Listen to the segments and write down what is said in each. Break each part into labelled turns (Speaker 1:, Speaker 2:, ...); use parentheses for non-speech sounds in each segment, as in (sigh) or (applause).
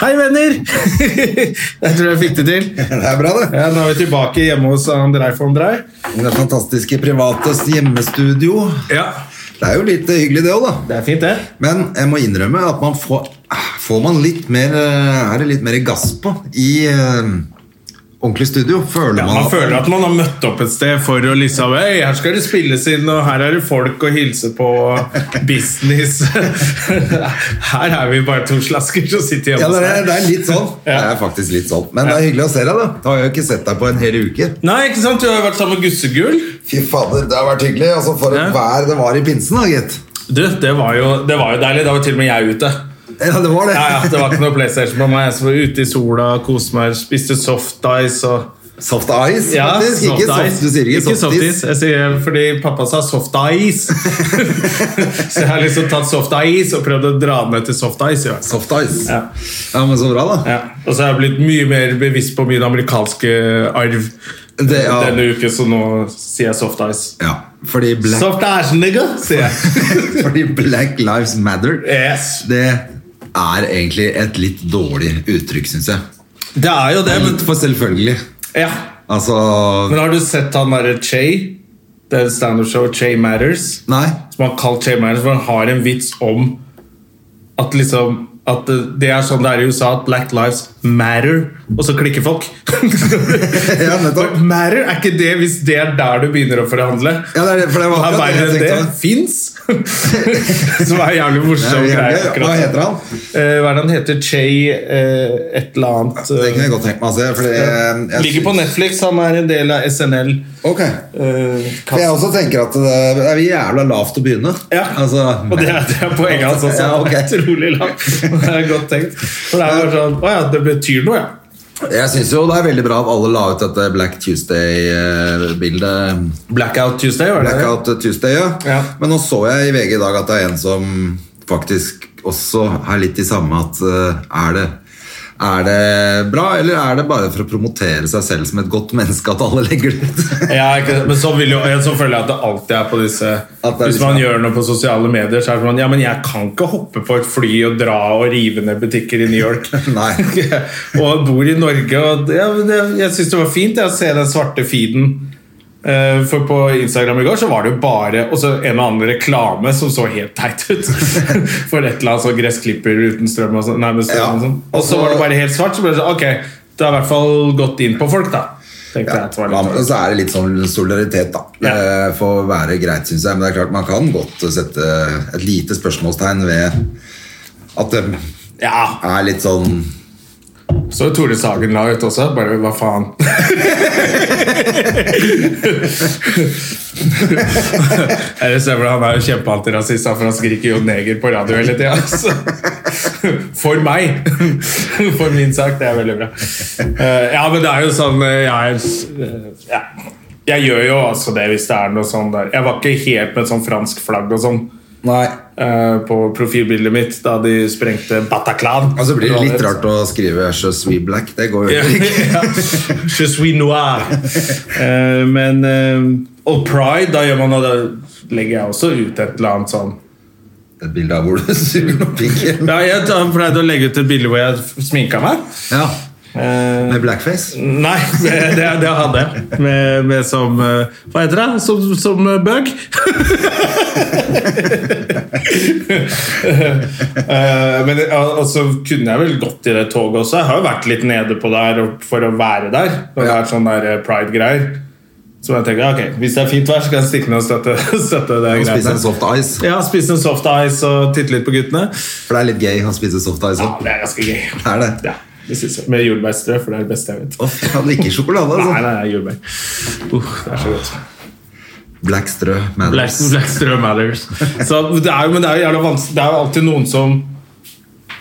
Speaker 1: Hei, venner! (laughs) jeg tror jeg fikk (laughs) det til.
Speaker 2: Det er bra, det.
Speaker 1: Ja, nå er vi tilbake hjemme hos Andrei von Drei.
Speaker 2: Det fantastiske private hjemmestudio.
Speaker 1: Ja.
Speaker 2: Det er jo litt hyggelig, det òg, da.
Speaker 1: Det er fint, det.
Speaker 2: Men jeg må innrømme at man får, ah, får man litt mer eh, Er det litt mer gass på i eh, ordentlig studio? Føler
Speaker 1: Ja,
Speaker 2: man,
Speaker 1: man føler at man har møtt opp et sted for å liksom Hei, her skal det spilles inn, og her er det folk å hilse på. (laughs) og Business. her er vi bare to slasker som sitter
Speaker 2: ja,
Speaker 1: hjemme
Speaker 2: det, er,
Speaker 1: hos deg.
Speaker 2: det er litt
Speaker 1: (laughs)
Speaker 2: sånn. Det er faktisk litt sånn. Men det er hyggelig å se deg, da. Da har jeg jo ikke sett deg på en hel uke.
Speaker 1: Nei, ikke sant? Du har jo vært sammen med Gussegull.
Speaker 2: Fy fader, det har vært hyggelig. Altså, for et
Speaker 1: Ja.
Speaker 2: vær det var i pinsen, da, gitt.
Speaker 1: Du, det var, jo, det var jo deilig. Da var til og med jeg ute.
Speaker 2: Ja, det var det.
Speaker 1: Ja, ja, Det var ikke noe PlayStation på meg. Jeg som var ute i sola, koste meg, spiste soft ice og
Speaker 2: (laughs) Soft ice,
Speaker 1: Ja,
Speaker 2: faktisk. ikke
Speaker 1: ice.
Speaker 2: soft, du sier ikke,
Speaker 1: Ikke
Speaker 2: soft ice.
Speaker 1: Jeg sier fordi pappa sa soft ice. (laughs) så jeg har liksom tatt soft ice og prøvd å dra den ned til soft ice. Ja.
Speaker 2: Soft ice.
Speaker 1: Ja.
Speaker 2: ja, men så bra, da.
Speaker 1: Ja. Og så har jeg blitt mye mer bevisst på min amerikanske arv
Speaker 2: Det, ja.
Speaker 1: denne uken, så nå sier jeg soft ice.
Speaker 2: Ja, fordi Black,
Speaker 1: Soft ice, nigga, sier jeg.
Speaker 2: (laughs) fordi black Lives Matter
Speaker 1: Yes.
Speaker 2: Det er egentlig et litt dårlig uttrykk, syns jeg.
Speaker 1: Det er jo det, men
Speaker 2: Litt for selvfølgelig.
Speaker 1: ja.
Speaker 2: Altså
Speaker 1: Men har du sett han derre Che? Det er standup-show Che Matters.
Speaker 2: Nei. (laughs)
Speaker 1: som han kalt Che Myers, for han har en vits om at liksom at det er sånn det er i USA, at black lives matter, og så klikker
Speaker 2: (laughs)
Speaker 1: folk.
Speaker 2: Ja, nettopp.
Speaker 1: matter er ikke det hvis det er der du begynner å forhandle.
Speaker 2: Ja, det er det, for det var
Speaker 1: Hva er
Speaker 2: akkurat
Speaker 1: verre enn
Speaker 2: det
Speaker 1: det
Speaker 2: jeg tenkte.
Speaker 1: fins? (laughs) Som er en jævlig
Speaker 2: Det
Speaker 1: morsom
Speaker 2: er
Speaker 1: greie.
Speaker 2: jævlig. Hva heter han?
Speaker 1: Eh, hva er det han heter? Che eh, et eller annet.
Speaker 2: Det kunne
Speaker 1: eh,
Speaker 2: jeg godt tenkt meg å se. For det, jeg, jeg,
Speaker 1: Ligger på Netflix, han er en del av SNL.
Speaker 2: Ok.
Speaker 1: Eh,
Speaker 2: For Jeg også tenker at det er- det er jævla lavt å begynne.
Speaker 1: Ja,
Speaker 2: Altså,
Speaker 1: og det er, det er poenget hans også.
Speaker 2: Ja,
Speaker 1: (laughs)
Speaker 2: ok.
Speaker 1: Utrolig langt. Det er godt tenkt. For det er bare sånn, å ja, det betyr noe, ja.
Speaker 2: Jeg syns jo det er veldig bra at alle la ut dette Black Tuesday-bildet.
Speaker 1: Blackout Tuesday, var det det?
Speaker 2: Blackout Tuesday, ja.
Speaker 1: Ja.
Speaker 2: Men nå så jeg i VG i dag at det er en som faktisk også er litt i samme at eh, er det er det bra, eller er det bare for å promotere seg selv som et godt menneske at alle legger det ut?
Speaker 1: (laughs) Ja, ikke, men så, vil jo, så føler jeg at det alltid er på disse
Speaker 2: At det
Speaker 1: Hvis
Speaker 2: er liksom-
Speaker 1: man gjør noe på sosiale medier, så er det sånn Ja, men jeg kan ikke hoppe på et fly og dra og rive ned butikker i New York.
Speaker 2: (laughs)
Speaker 1: (laughs)
Speaker 2: Nei.
Speaker 1: og bor i Norge. Og ja, men det, jeg syns det var fint jeg, å se den svarte feeden. Eh, For på Instagram i går så var det jo bare også en og annen reklame som så helt teit ut. (laughs) For et eller annet sånn gressklipper uten strøm og sånn. Nei, med strøm
Speaker 2: Ja.
Speaker 1: og sånn. Og så var det bare helt svart. Så ble det sånn Ok, det har i hvert fall gått inn på folk, da. Tenkte jeg at det var
Speaker 2: Ja,
Speaker 1: litt
Speaker 2: men så er det litt sånn solidaritet, da.
Speaker 1: Ja.
Speaker 2: Det får være greit, syns jeg. Men det er klart, man kan godt sette et lite spørsmålstegn ved at det
Speaker 1: Ja,
Speaker 2: er litt sånn
Speaker 1: Så Tore Sagen la ut også. Bare hva faen? Jeg ser for deg, Han er jo kjempeantirasist, han, for han skriker jo 'neger' på radio hele tida. altså. For meg! For min sak. Det er veldig bra. Eh, Ja, men det er jo sånn eh, Jeg, er, eh, ja. jeg gjør jo altså det hvis det er noe sånn der. Jeg var ikke helt med sånn fransk flagg og sånn
Speaker 2: Nei.
Speaker 1: eh, på profilbildet mitt da de sprengte Bataclan.
Speaker 2: Og så blir Altså, det
Speaker 1: Eller hva
Speaker 2: litt
Speaker 1: het.
Speaker 2: rart å skrive 'Je suis black'. Det går
Speaker 1: (laughs)
Speaker 2: jo
Speaker 1: Ja.
Speaker 2: ikke.
Speaker 1: Je suis noir. Eh, men eh, Og pride, da gjør man det, da legger jeg også ut et eller annet sånn.
Speaker 2: Et bilde av hvor du (laughs) suger noen pinker.
Speaker 1: Ja, jeg da pleide å legge ut et bilde hvor jeg sminka meg.
Speaker 2: Ja,
Speaker 1: Eh,
Speaker 2: med blackface.
Speaker 1: nei, det, det, det hadde jeg. Med, med som eh, Hva heter det? Som, som eh, bøg? Eh, men ja, altså, kunne jeg vel gått i det toget også. Jeg har jo vært litt nede på der og- for å være der. Når det er sånne der, eh, pride-greier. Så jeg tenker, ok, Hvis det er fint vær, så kan jeg stikke ned og støtte, (laughs) støtte det.
Speaker 2: Og spise en
Speaker 1: greiene.
Speaker 2: soft ice.
Speaker 1: Ja, spise en soft ice og titte litt på guttene.
Speaker 2: For det er litt gøy å spise soft ice
Speaker 1: Ja,
Speaker 2: òg.
Speaker 1: Det er ganske gøy.
Speaker 2: Det er det.
Speaker 1: Ja, det synes jeg. Med jordbærstrø, for det er det beste jeg vet.
Speaker 2: Å, fy faen, ikke sjokolade,
Speaker 1: Nei,
Speaker 2: altså.
Speaker 1: nei, nei, jordbær. Uh, det er så godt.
Speaker 2: Black strø. Man.
Speaker 1: Black, Black Matters. Så det er, jo- men det er jo jævla vanskelig Det er jo alltid noen som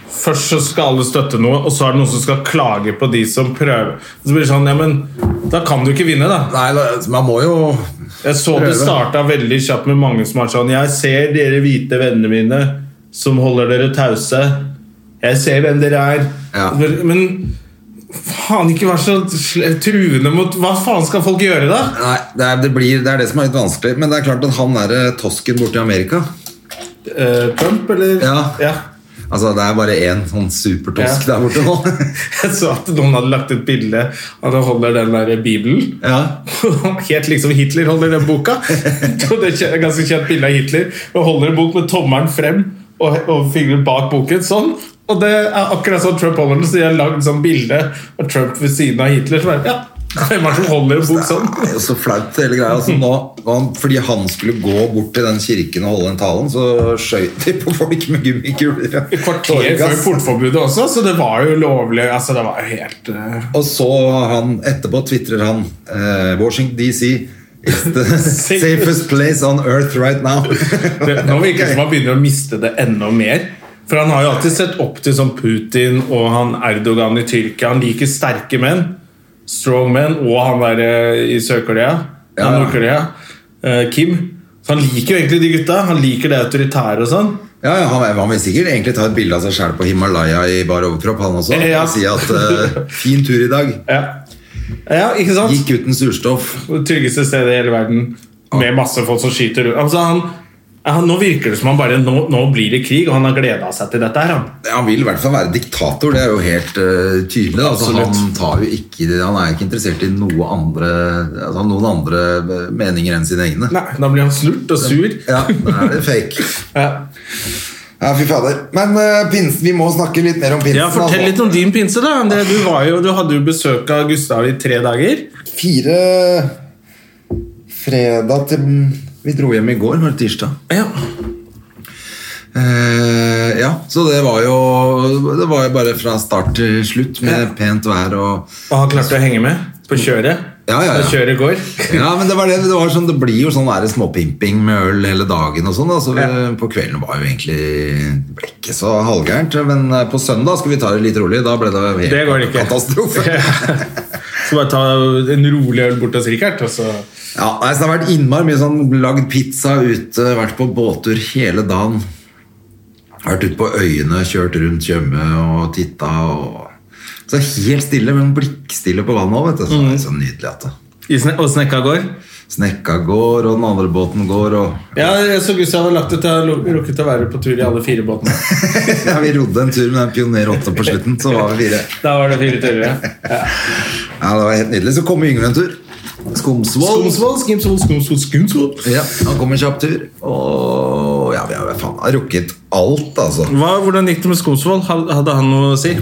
Speaker 1: Først så skal alle støtte noe, og så er det noen som skal klage på de som prøver. Så blir det sånn, ja, men Da kan du ikke vinne, da.
Speaker 2: Nei, da- man må jo
Speaker 1: Jeg så det
Speaker 2: Prøve.
Speaker 1: starta veldig kjapt med mange som har sånn Jeg ser dere hvite vennene mine som holder dere tause. Jeg ser hvem dere er.
Speaker 2: Ja.
Speaker 1: Men faen, ikke vær så sle- truende mot Hva faen skal folk gjøre, da?
Speaker 2: Nei, det er det, blir, det er det som er litt vanskelig. Men det er klart at han derre tosken borte i Amerika
Speaker 1: Eh, Trump, eller?
Speaker 2: Ja. Altså, det er bare én sånn supertosk
Speaker 1: Ja.
Speaker 2: der borte nå.
Speaker 1: (laughs) Jeg så at noen hadde lagt ut bilde av han holder den der bibelen.
Speaker 2: ja.
Speaker 1: (laughs) Helt liksom Hitler holder den boka.
Speaker 2: (laughs)
Speaker 1: Så det er et ganske kjent bilde av Hitler. Og holder en bok med tommelen frem og, og fingeren bak boken. Sånn. Og det er akkurat sånn Trump holder den. Så de har lagd sånn bilde av Trump ved siden av Hitler. Så bare, ja, hvem er det som holder en bok sånn?
Speaker 2: Det er jo så flaut, hele greia. Altså, nå, han, fordi han skulle gå bort til den kirken og holde den talen, så skjøt de på folk med gummikuler. og
Speaker 1: Et kvarter før
Speaker 2: tåregass.
Speaker 1: portforbudet også, så det var jo lovlig. Altså, det var jo helt eh,
Speaker 2: Og så har han, etterpå tvitrer han eh, Washington DC is the
Speaker 1: (laughs)
Speaker 2: safest place on earth right now. (laughs)
Speaker 1: det, Nå virker det som han begynner å miste det enda mer. For han har jo alltid sett opp til sånn Putin og han Erdogan i Tyrkia. Han liker sterke menn. Strong men. Og han der eh, i Sør-Korea. Ja,
Speaker 2: Ja, ja.
Speaker 1: Nord-Korea. eh, Kim. Så han liker jo egentlig de gutta. Han liker det autoritære og sånn.
Speaker 2: Ja, ja, han, han vil sikkert egentlig ta et bilde av seg sjæl på Himalaya i bar overkropp, han også.
Speaker 1: Ja.
Speaker 2: Og si at eh, 'fin tur i dag'.
Speaker 1: Ja. ja, ikke sant?
Speaker 2: Gikk uten surstoff.
Speaker 1: Det tryggeste stedet i hele verden Med masse folk som skyter rundt altså, han, han, Nå virker det som han bare Nå, nå blir det krig, og han har gleda seg til dette her han.
Speaker 2: Han vil i hvert fall være diktator, det er jo helt eh, tydelig. da. Altså,
Speaker 1: Absolutt.
Speaker 2: han, tar jo ikke, han er jo ikke interessert i noe andre, altså, noen andre eh, meninger enn sine egne.
Speaker 1: Nei, Da blir han snurt og sur
Speaker 2: Ja, da er det fake.
Speaker 1: Ja,
Speaker 2: Ja, fy fader. Men eh, pinsen, vi må snakke litt mer om pinsen. altså.
Speaker 1: ja fortell litt om din pinse da André. du, var jo, du hadde jo besøk av Gustav i tre dager
Speaker 2: Fire fredag til Vi dro hjem i går, var det tirsdag?
Speaker 1: Ja,
Speaker 2: Eh, ja, så det var jo Det var jo bare fra start til slutt med
Speaker 1: Ja.
Speaker 2: pent vær og
Speaker 1: og han klarte å henge med på kjøret
Speaker 2: Ja, ja, ja.
Speaker 1: Da kjøret går
Speaker 2: Ja, men det var det, det var sånn, det blir jo sånn der småpimping med øl hele dagen og sånn. da, så vi-
Speaker 1: Ja.
Speaker 2: På kvelden var jo egentlig det ble ikke så halvgærent. Men eh, på søndag skal vi ta det litt rolig. Da ble det helt
Speaker 1: Det går ikke
Speaker 2: katastrofe. (laughs)
Speaker 1: Ja. (laughs) Så bare ta en rolig øl bort hos Rikard og så...
Speaker 2: Ja, nei, så Det har vært innmari mye sånn lagd pizza ute, vært på båttur hele dagen. Vært ute på øyene, kjørt rundt Tjøme og titta. Og... Så helt stille, men blikkstille på vannet òg. Så det er så nydelig at det
Speaker 1: I sne- Og snekka går
Speaker 2: Snekka går, og den andre båten går, og (laughs)
Speaker 1: Ja, jeg så Gustav har lagt ut Jeg har rukket å være på tur i alle fire båtene
Speaker 2: ja, Vi rodde en tur med den Pioner 8 på slutten, så var vi fire.
Speaker 1: Da var det fire turer, ja.
Speaker 2: Ja, Det var helt nydelig. Så kom Yngve en tur. Skomsvoll.
Speaker 1: Skumsvoll, skumsvoll, skumsvoll, skumsvoll.
Speaker 2: Ja, han kom en kjapp tur. Og ja, vi har faen har rukket alt, altså.
Speaker 1: Hva, hvordan gikk det med Skumsvoll? Had- Hadde han noe å si?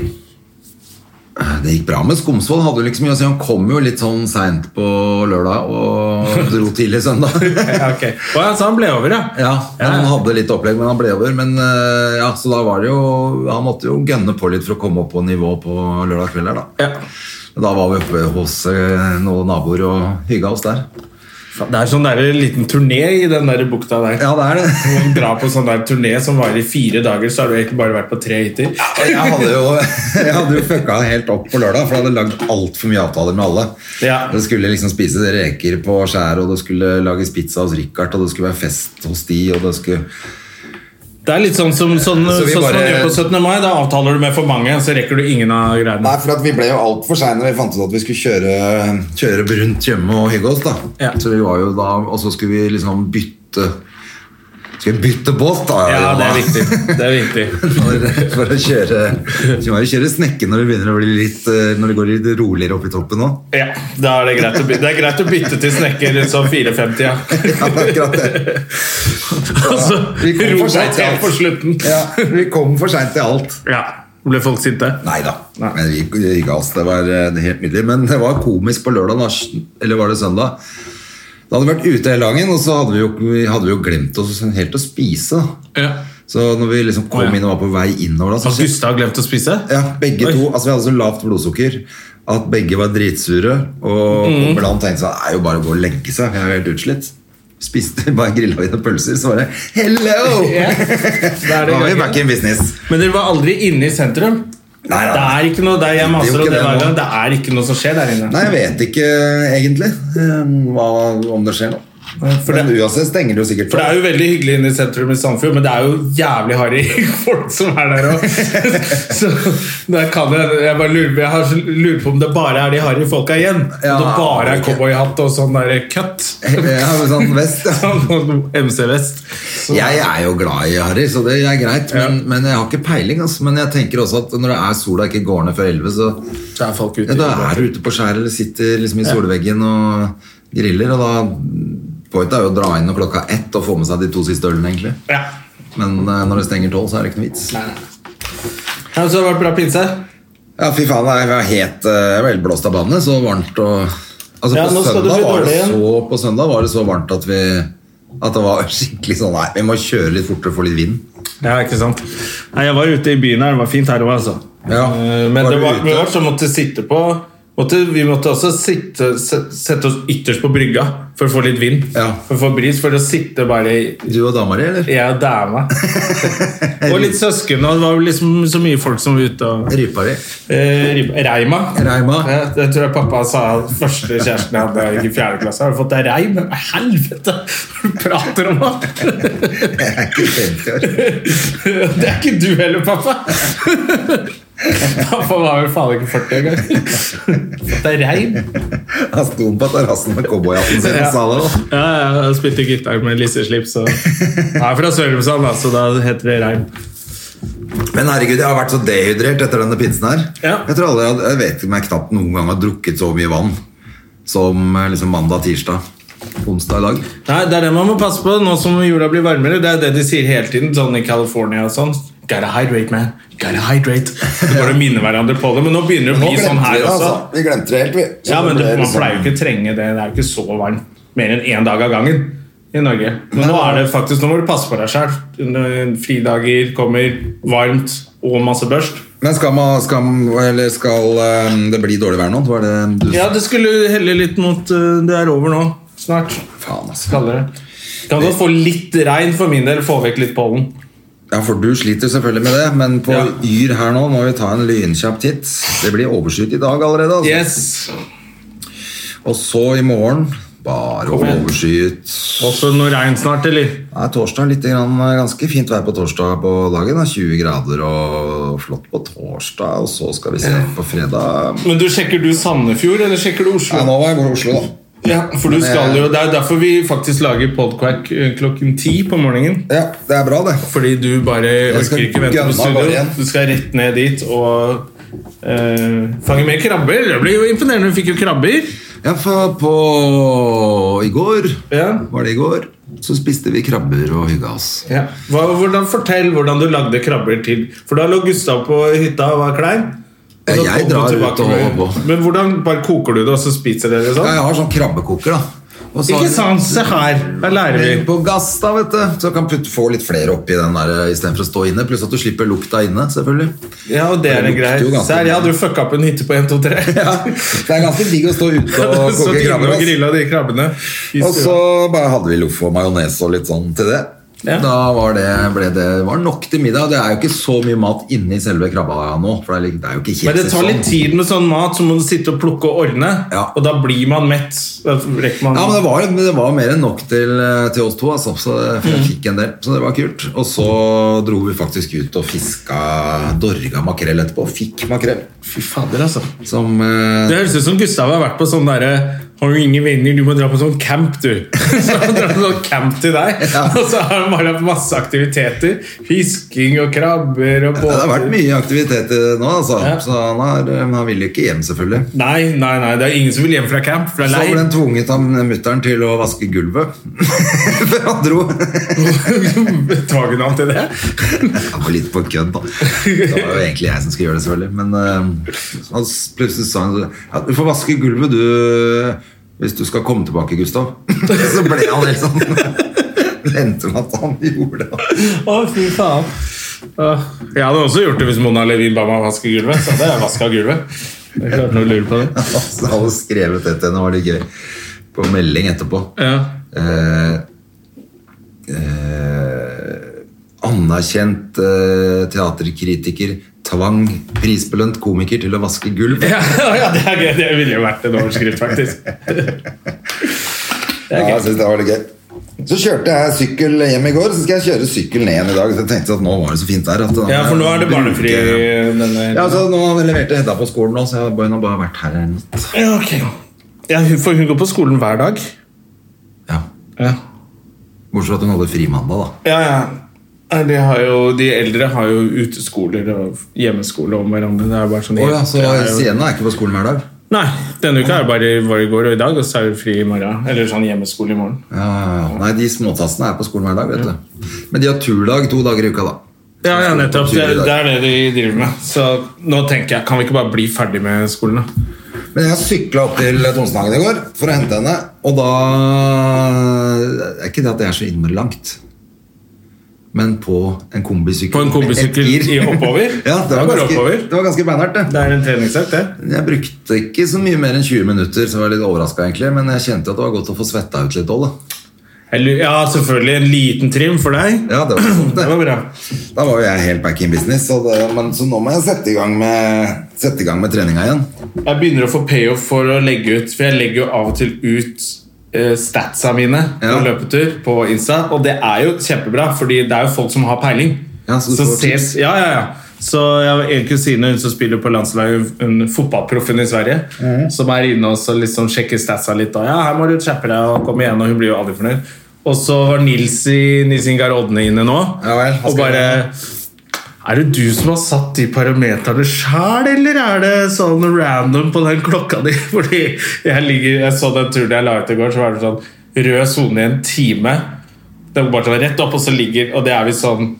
Speaker 2: Det gikk bra med Skomsvold. Hadde jo liksom mye å si. Han kom jo litt sånn seint på lørdag og dro tidlig søndag.
Speaker 1: Ja, ok. Å, ja, så han ble over, ja.
Speaker 2: Ja, men Han hadde litt opplegg, men han ble over. Men eh, ja, Så da var det jo Han måtte jo gønne på litt for å komme opp på nivå på lørdag kveld her, da.
Speaker 1: Ja.
Speaker 2: Da var vi oppe hos eh, noen naboer og hygga oss der.
Speaker 1: Det er sånn der liten turné i den der bukta der.
Speaker 2: Ja, det er det.
Speaker 1: Når man drar på sånn der turné som varer i fire dager, så har du egentlig bare vært på tre hytter.
Speaker 2: Jeg hadde jo, (laughs) jeg hadde jo fucka helt opp på lørdag, for jeg hadde lagd altfor mye avtaler med alle.
Speaker 1: Ja.
Speaker 2: Det skulle liksom spises reker på skjæret, og det skulle lages pizza hos Richard, og det skulle være fest hos de, og det skulle
Speaker 1: Det er litt sånn som sånn,
Speaker 2: Så vi
Speaker 1: sånn som man
Speaker 2: bare-
Speaker 1: gjør på 17. mai. Da avtaler du med for mange, så rekker du ingen av greiene.
Speaker 2: Nei, for at vi ble jo altfor seine. Vi fant ut at vi skulle kjøre, kjøre rundt hjemme og hygge oss. da.
Speaker 1: Ja.
Speaker 2: Så vi var jo da, Og så skulle vi liksom bytte Skulle vi bytte båt, da?
Speaker 1: Ja, det er
Speaker 2: Jonna?
Speaker 1: viktig. Det er viktig.
Speaker 2: (laughs) Når- for å kjøre, så må vi kjøre snekke når det begynner å bli litt eh, Når det går litt roligere opp i toppen nå.
Speaker 1: Ja, da er det greit å bytte, det er greit å bytte til snekker sånn 54, ja.
Speaker 2: Ja, det er akkurat det.
Speaker 1: (laughs) Og så
Speaker 2: vi kom
Speaker 1: Altså, ro
Speaker 2: for
Speaker 1: deg
Speaker 2: sent til
Speaker 1: til
Speaker 2: alt.
Speaker 1: på slutten.
Speaker 2: Ja, vi kom for seint til alt.
Speaker 1: Ja, Ble folk sinte?
Speaker 2: Nei da.
Speaker 1: Nei.
Speaker 2: Men vi hygga oss. Det var eh, helt nydelig. Men det var komisk på lørdag, da. Eller var det søndag? Da hadde vi vært ute hele dagen, og så hadde vi jo, vi hadde jo glemt oss helt å spise. da.
Speaker 1: Ja.
Speaker 2: Så når vi liksom kom
Speaker 1: Å, ja.
Speaker 2: inn og var på vei innover da, så
Speaker 1: Har Gustav glemt å spise?
Speaker 2: ja, begge
Speaker 1: Oi.
Speaker 2: to, altså Vi hadde så lavt blodsukker at
Speaker 1: Mhm.
Speaker 2: begge var dritsure. Og mm. blant tenkte sånn Det er jo bare å gå og legge seg. Jeg er helt utslitt. spiste (laughs) bare grilla vi noen pølser, så var det Hello!
Speaker 1: (laughs) Ja, da er
Speaker 2: Da
Speaker 1: det
Speaker 2: var vi
Speaker 1: gangen.
Speaker 2: back in business.
Speaker 1: Men dere var aldri inne i sentrum?
Speaker 2: Nei, nei,
Speaker 1: Det
Speaker 2: nei.
Speaker 1: er ikke noe der jeg
Speaker 2: Det er
Speaker 1: maser
Speaker 2: jo
Speaker 1: om det
Speaker 2: ikke det
Speaker 1: hver
Speaker 2: nå.
Speaker 1: gang. Det er ikke noe som skjer der inne.
Speaker 2: Nei, jeg vet ikke egentlig eh, hva, om det skjer nå.
Speaker 1: for det-
Speaker 2: Men uansett stenger det jo sikkert
Speaker 1: For det er jo veldig hyggelig inne i sentrum i Sandfjord, men det er jo jævlig harry (laughs) folk som er der òg. (laughs) Så da kan jeg, jeg bare lurer, jeg har så- lurer på om det bare er de harry folka igjen.
Speaker 2: Ja,
Speaker 1: Om det bare er
Speaker 2: ok.
Speaker 1: cowboyhatt og sånn derre cut. (laughs)
Speaker 2: (laughs) Ja, med sånn vest, ja.
Speaker 1: Sånn MC Vest. Så-
Speaker 2: Jeg er jo glad i harry, så det er greit. Men, men jeg har ikke peiling. Altså. Men jeg tenker også at når det er sola ikke går ned før 11, så
Speaker 1: Det er folk ute.
Speaker 2: ja, da er du ute på skjæret eller sitter liksom i solveggen og griller. Og da Pointet er jo å dra inn når klokka er ett og få med seg de to siste ølene, egentlig.
Speaker 1: Ja.
Speaker 2: Men eh, når det stenger tolv, så er det ikke noe vits.
Speaker 1: Ja, så har det vært bra pinse.
Speaker 2: Ja, fy faen, jeg var helt eh, velblåst av bandet, så varmt og Altså,
Speaker 1: Ja,
Speaker 2: på,
Speaker 1: nå skal du
Speaker 2: søndag
Speaker 1: bli
Speaker 2: var det
Speaker 1: dårlig igjen.
Speaker 2: så, på søndag var det så varmt at vi At det var skikkelig sånn Nei, vi må kjøre litt fortere for litt vind.
Speaker 1: Ja, ikke sant. Nei, jeg var ute i byen her. Det var fint her òg, altså.
Speaker 2: Ja,
Speaker 1: Eh, Men
Speaker 2: var
Speaker 1: det
Speaker 2: du
Speaker 1: var
Speaker 2: ute?
Speaker 1: mørkt, så måtte sitte på måtte, Vi måtte også sitte, se- sette oss ytterst på brygga for å få litt vind.
Speaker 2: Ja.
Speaker 1: For å få bris. For å sitte bare i-
Speaker 2: Du og dama di, eller?
Speaker 1: Jeg og
Speaker 2: (laughs)
Speaker 1: dama. og litt søsken. Og det var liksom så mye folk som var ute og
Speaker 2: Rypa di. (laughs)
Speaker 1: eh, rib- Reima.
Speaker 2: Reima.
Speaker 1: Ja, det tror jeg pappa sa første kjæresten jeg hadde i fjerde klasse. Har du fått deg reim? Hva i helvete Hva du prater om nå?
Speaker 2: Jeg (laughs) er ikke
Speaker 1: (laughs)
Speaker 2: 50 år.
Speaker 1: Det er ikke du heller, pappa. pappa var vel faen ikke 40 engang. Det er reim.
Speaker 2: Han sto på terrassen med cowboyhatten sin og sa det. da.
Speaker 1: Ja, ja, jeg spilte gitar med lisseslips. Og... Jeg er fra Sørumsand, da, så da heter det reim.
Speaker 2: Men herregud, jeg har vært så dehydrert etter denne pinsen her.
Speaker 1: Ja.
Speaker 2: Jeg tror aldri, jeg- jeg vet ikke om jeg knapt noen gang har drukket så mye vann som eh, liksom mandag, tirsdag, onsdag i dag.
Speaker 1: Nei, Det er det man må passe på nå som jorda blir varmere. Det er det de sier hele tiden sånn i California og sånn. Gotta hydrate, man. Gotta (laughs) hydrate. Så går det å minne hverandre på det, men nå begynner det å
Speaker 2: Nå
Speaker 1: bli sånn
Speaker 2: glemte vi
Speaker 1: her
Speaker 2: det,
Speaker 1: også.
Speaker 2: altså. Vi glemte det helt, vi. Så
Speaker 1: Ja,
Speaker 2: det
Speaker 1: men
Speaker 2: ble
Speaker 1: det, Man
Speaker 2: liksom-
Speaker 1: pleier jo ikke trenge det. Det er jo ikke så varmt mer enn én dag av gangen i Norge. Men nå er det faktisk, nå må du passe på deg sjøl. Fridager kommer, varmt og masse børst.
Speaker 2: Men skal, man, skal, eller skal eh, det bli dårlig vær nå? Var det du
Speaker 1: Ja, det skulle helle litt mot eh, Det er over nå. Snart.
Speaker 2: Faen, altså.
Speaker 1: Kaldere. Kan godt få litt regn for min del. Få vekk litt pollen.
Speaker 2: Ja, for du sliter selvfølgelig med det, men på
Speaker 1: Ja.
Speaker 2: Yr her nå må vi ta en lynkjapp titt. Det blir overskyet i dag allerede. Altså.
Speaker 1: Yes.
Speaker 2: Og så i morgen bare
Speaker 1: igjen.
Speaker 2: overskyet.
Speaker 1: Også noe regn snart, eller?
Speaker 2: Ja, torsdag litt grann, eh, ganske fint vær på torsdag på dagen. da. 20 grader og flott på torsdag, og så skal vi se på fredag.
Speaker 1: Men du Sjekker du Sandefjord, eller sjekker du Oslo?
Speaker 2: Ja, nå var jeg i Oslo, da.
Speaker 1: Ja, for du
Speaker 2: Men jeg-
Speaker 1: skal jo, Det er derfor vi faktisk lager podquack eh, klokken ti på morgenen.
Speaker 2: Ja, det er bra, det.
Speaker 1: Fordi du bare orker
Speaker 2: skal
Speaker 1: ikke vente på
Speaker 2: gønne av gårde
Speaker 1: studio.
Speaker 2: igjen.
Speaker 1: Du skal rett ned dit og eh, fange mer krabber. Det blir jo imponerende. Du fikk jo krabber.
Speaker 2: Ja, for på i går
Speaker 1: Ja.
Speaker 2: var det i går, så spiste vi krabber og hygga oss.
Speaker 1: Hva, hvordan, fortell hvordan du lagde krabber til For da lå Gustav på hytta og var klein. Og da
Speaker 2: Ja, jeg
Speaker 1: kom du
Speaker 2: drar
Speaker 1: tilbake
Speaker 2: ut og
Speaker 1: med-
Speaker 2: holder på.
Speaker 1: Men hvordan bare koker du det, og så spiser dere
Speaker 2: Ja, Sånn.
Speaker 1: sånn?
Speaker 2: jeg har sånn krabbekoker, da. Og så
Speaker 1: Ikke sant? Se her. Her lærer vi.
Speaker 2: På gass, da, vet du. Så kan putte, få litt flere oppi den der eh, istedenfor å stå inne. Pluss at du slipper lukta inne, selvfølgelig.
Speaker 1: Ja, og det er
Speaker 2: Det
Speaker 1: en
Speaker 2: lukter
Speaker 1: greie.
Speaker 2: jo ganske
Speaker 1: Se her, jeg
Speaker 2: bra.
Speaker 1: hadde jo fucka opp en hytte på 1, 2, 3.
Speaker 2: Ja,
Speaker 1: (laughs)
Speaker 2: det er ganske digg å stå ute
Speaker 1: Så
Speaker 2: (laughs) og koke
Speaker 1: inne
Speaker 2: krabber.
Speaker 1: og
Speaker 2: ass.
Speaker 1: grilla de krabbene. i
Speaker 2: Og så
Speaker 1: stua.
Speaker 2: bare hadde vi loff og majones og litt sånn til det.
Speaker 1: Ja.
Speaker 2: Da var det, ble det var nok til middag. Det er jo ikke så mye mat inni selve krabba nå. For det er, litt- det er jo ikke helt
Speaker 1: Men det tar litt
Speaker 2: sesong.
Speaker 1: tid med sånn mat, så må du sitte og plukke og ordne.
Speaker 2: Ja.
Speaker 1: Og da blir man mett. Da rekker man
Speaker 2: Ja, men det var, men det var mer enn nok til, til oss to, altså, så
Speaker 1: Mm.
Speaker 2: jeg fikk en del, så det var kult. Og så dro vi faktisk ut og fiska dorga makrell etterpå, fikk makrell.
Speaker 1: Fy fader, altså.
Speaker 2: Som eh,
Speaker 1: Det høres ut som Gustav har vært på sånn derre Har du ingen venner, du må dra på sånn camp, du. (laughs) Så han drar på sånn camp til deg. (laughs) Og så har han bare hatt masse aktiviteter. Fisking og krabber og
Speaker 2: det har vært
Speaker 1: båter.
Speaker 2: mye aktivitet eh, nå, altså.
Speaker 1: Ja.
Speaker 2: Så han, har, eh, han vil jo ikke hjem, selvfølgelig.
Speaker 1: Nei, nei, nei, det er ingen som vil hjem fra camp. Fra
Speaker 2: Så ble
Speaker 1: leir.
Speaker 2: han tvunget av mutter'n til å vaske gulvet (laughs) før han dro.
Speaker 1: (laughs) Tvang han til det?
Speaker 2: Han var litt på kødd, da. Det var jo egentlig jeg som skulle gjøre det, selvfølgelig. Men eh, han s- plutselig sa han ja, Du får vaske gulvet, du, hvis du skal komme tilbake, Gustav. (laughs) Så ble han helt sånn (laughs) Det endte med at han gjorde det.
Speaker 1: Å, fy faen. Åh, Jeg hadde også gjort det hvis Mona Levin ba meg vaske gulvet. Så hadde jeg vasket gulvet. Det er klart noe lurer på det.
Speaker 2: Så han hadde skrevet det til henne, det var litt gøy. På melding etterpå.
Speaker 1: Ja.
Speaker 2: eh, eh, anerkjent eh, teaterkritiker tvang prisbelønt komiker til å vaske gulv.
Speaker 1: Ja, (laughs) ja, det er gøy. Det ville jo vært en overskrift, faktisk.
Speaker 2: Ja, jeg synes det var litt gøy. Så kjørte jeg sykkel hjem i går, så skal jeg kjøre sykkel ned igjen i dag. Så jeg tenkte at nå var det så fint der. At da
Speaker 1: Ja, for nå er det barnefri eh,
Speaker 2: bruker-
Speaker 1: denne
Speaker 2: Ja, så nå leverte Hedda på skolen nå, så jeg har bare vært her en natt.
Speaker 1: Ja, ok. Ja, hun- for hun går på skolen hver dag.
Speaker 2: Ja.
Speaker 1: Ja,
Speaker 2: Bortsett fra at hun holder fri mandag, da.
Speaker 1: ja. ja. Nei, De, har jo, de eldre har jo uteskoler og hjemmeskole om hverandre. Det er bare sånn
Speaker 2: Å ja, så
Speaker 1: Det er jo-
Speaker 2: Siena er ikke på skolen hver dag?
Speaker 1: Nei, denne uka er det bare var i går og i dag, og så er det fri i morgen. Eller sånn hjemmeskole i morgen.
Speaker 2: Ja, ja, ja. Nei, de småtassene er på skolen hver dag, vet du. Men de har turdag to dager i uka, da.
Speaker 1: Ja, ja, nettopp. Det, det er det de driver med. Så nå tenker jeg, kan vi ikke bare bli ferdig med skolen, da?
Speaker 2: Men jeg sykla opp til Tonsenhagen i går for å hente henne, og da er ikke det at det er så innmari langt. Men på en kombisykkel.
Speaker 1: På en kombisykkel
Speaker 2: med ett gir.
Speaker 1: i oppover?
Speaker 2: (laughs) ja, det
Speaker 1: Da
Speaker 2: var,
Speaker 1: går det
Speaker 2: ganske,
Speaker 1: oppover.
Speaker 2: det var ganske beinhardt, det.
Speaker 1: Det er en treningsøkt, det.
Speaker 2: Jeg brukte ikke så mye mer enn 20 minutter, så jeg var litt overraska, egentlig. Men jeg kjente at det var godt å få svetta ut litt òg, da.
Speaker 1: Eller, ja, selvfølgelig. En liten trim for deg.
Speaker 2: Ja, det var sånn,
Speaker 1: Det
Speaker 2: det.
Speaker 1: var bra.
Speaker 2: Da var jo jeg helt back in business, så, det, men, så nå må jeg sette i gang med, sette i gang med treninga igjen.
Speaker 1: Jeg begynner å få payoff for å legge ut, for jeg legger jo av og til ut eh, statsa mine på
Speaker 2: Ja.
Speaker 1: løpetur på Insta, og det er jo kjempebra, fordi det er jo folk som har peiling.
Speaker 2: Ja, så du får
Speaker 1: ses, ja, ja, ja. Så jeg har en kusine hun som spiller på landslaget, hun fotballproffen i Sverige,
Speaker 2: Mhm.
Speaker 1: som er inne og så liksom sjekker statsa litt. Og ja, her må du kjappe deg og komme igjen, og hun blir jo aldri fornøyd. Og så var Nils i Nils Ingar Odne inne nå,
Speaker 2: Ja vel, han
Speaker 1: og
Speaker 2: skal-
Speaker 1: bare er det du som har satt de parameterne sjæl, eller er det sånn random på den klokka di? (laughs) Fordi jeg, ligger, jeg så den turen jeg la ut i går, så var det sånn rød sone i en time. Det var bare sånn rett opp, og så ligger Og det er visst sånn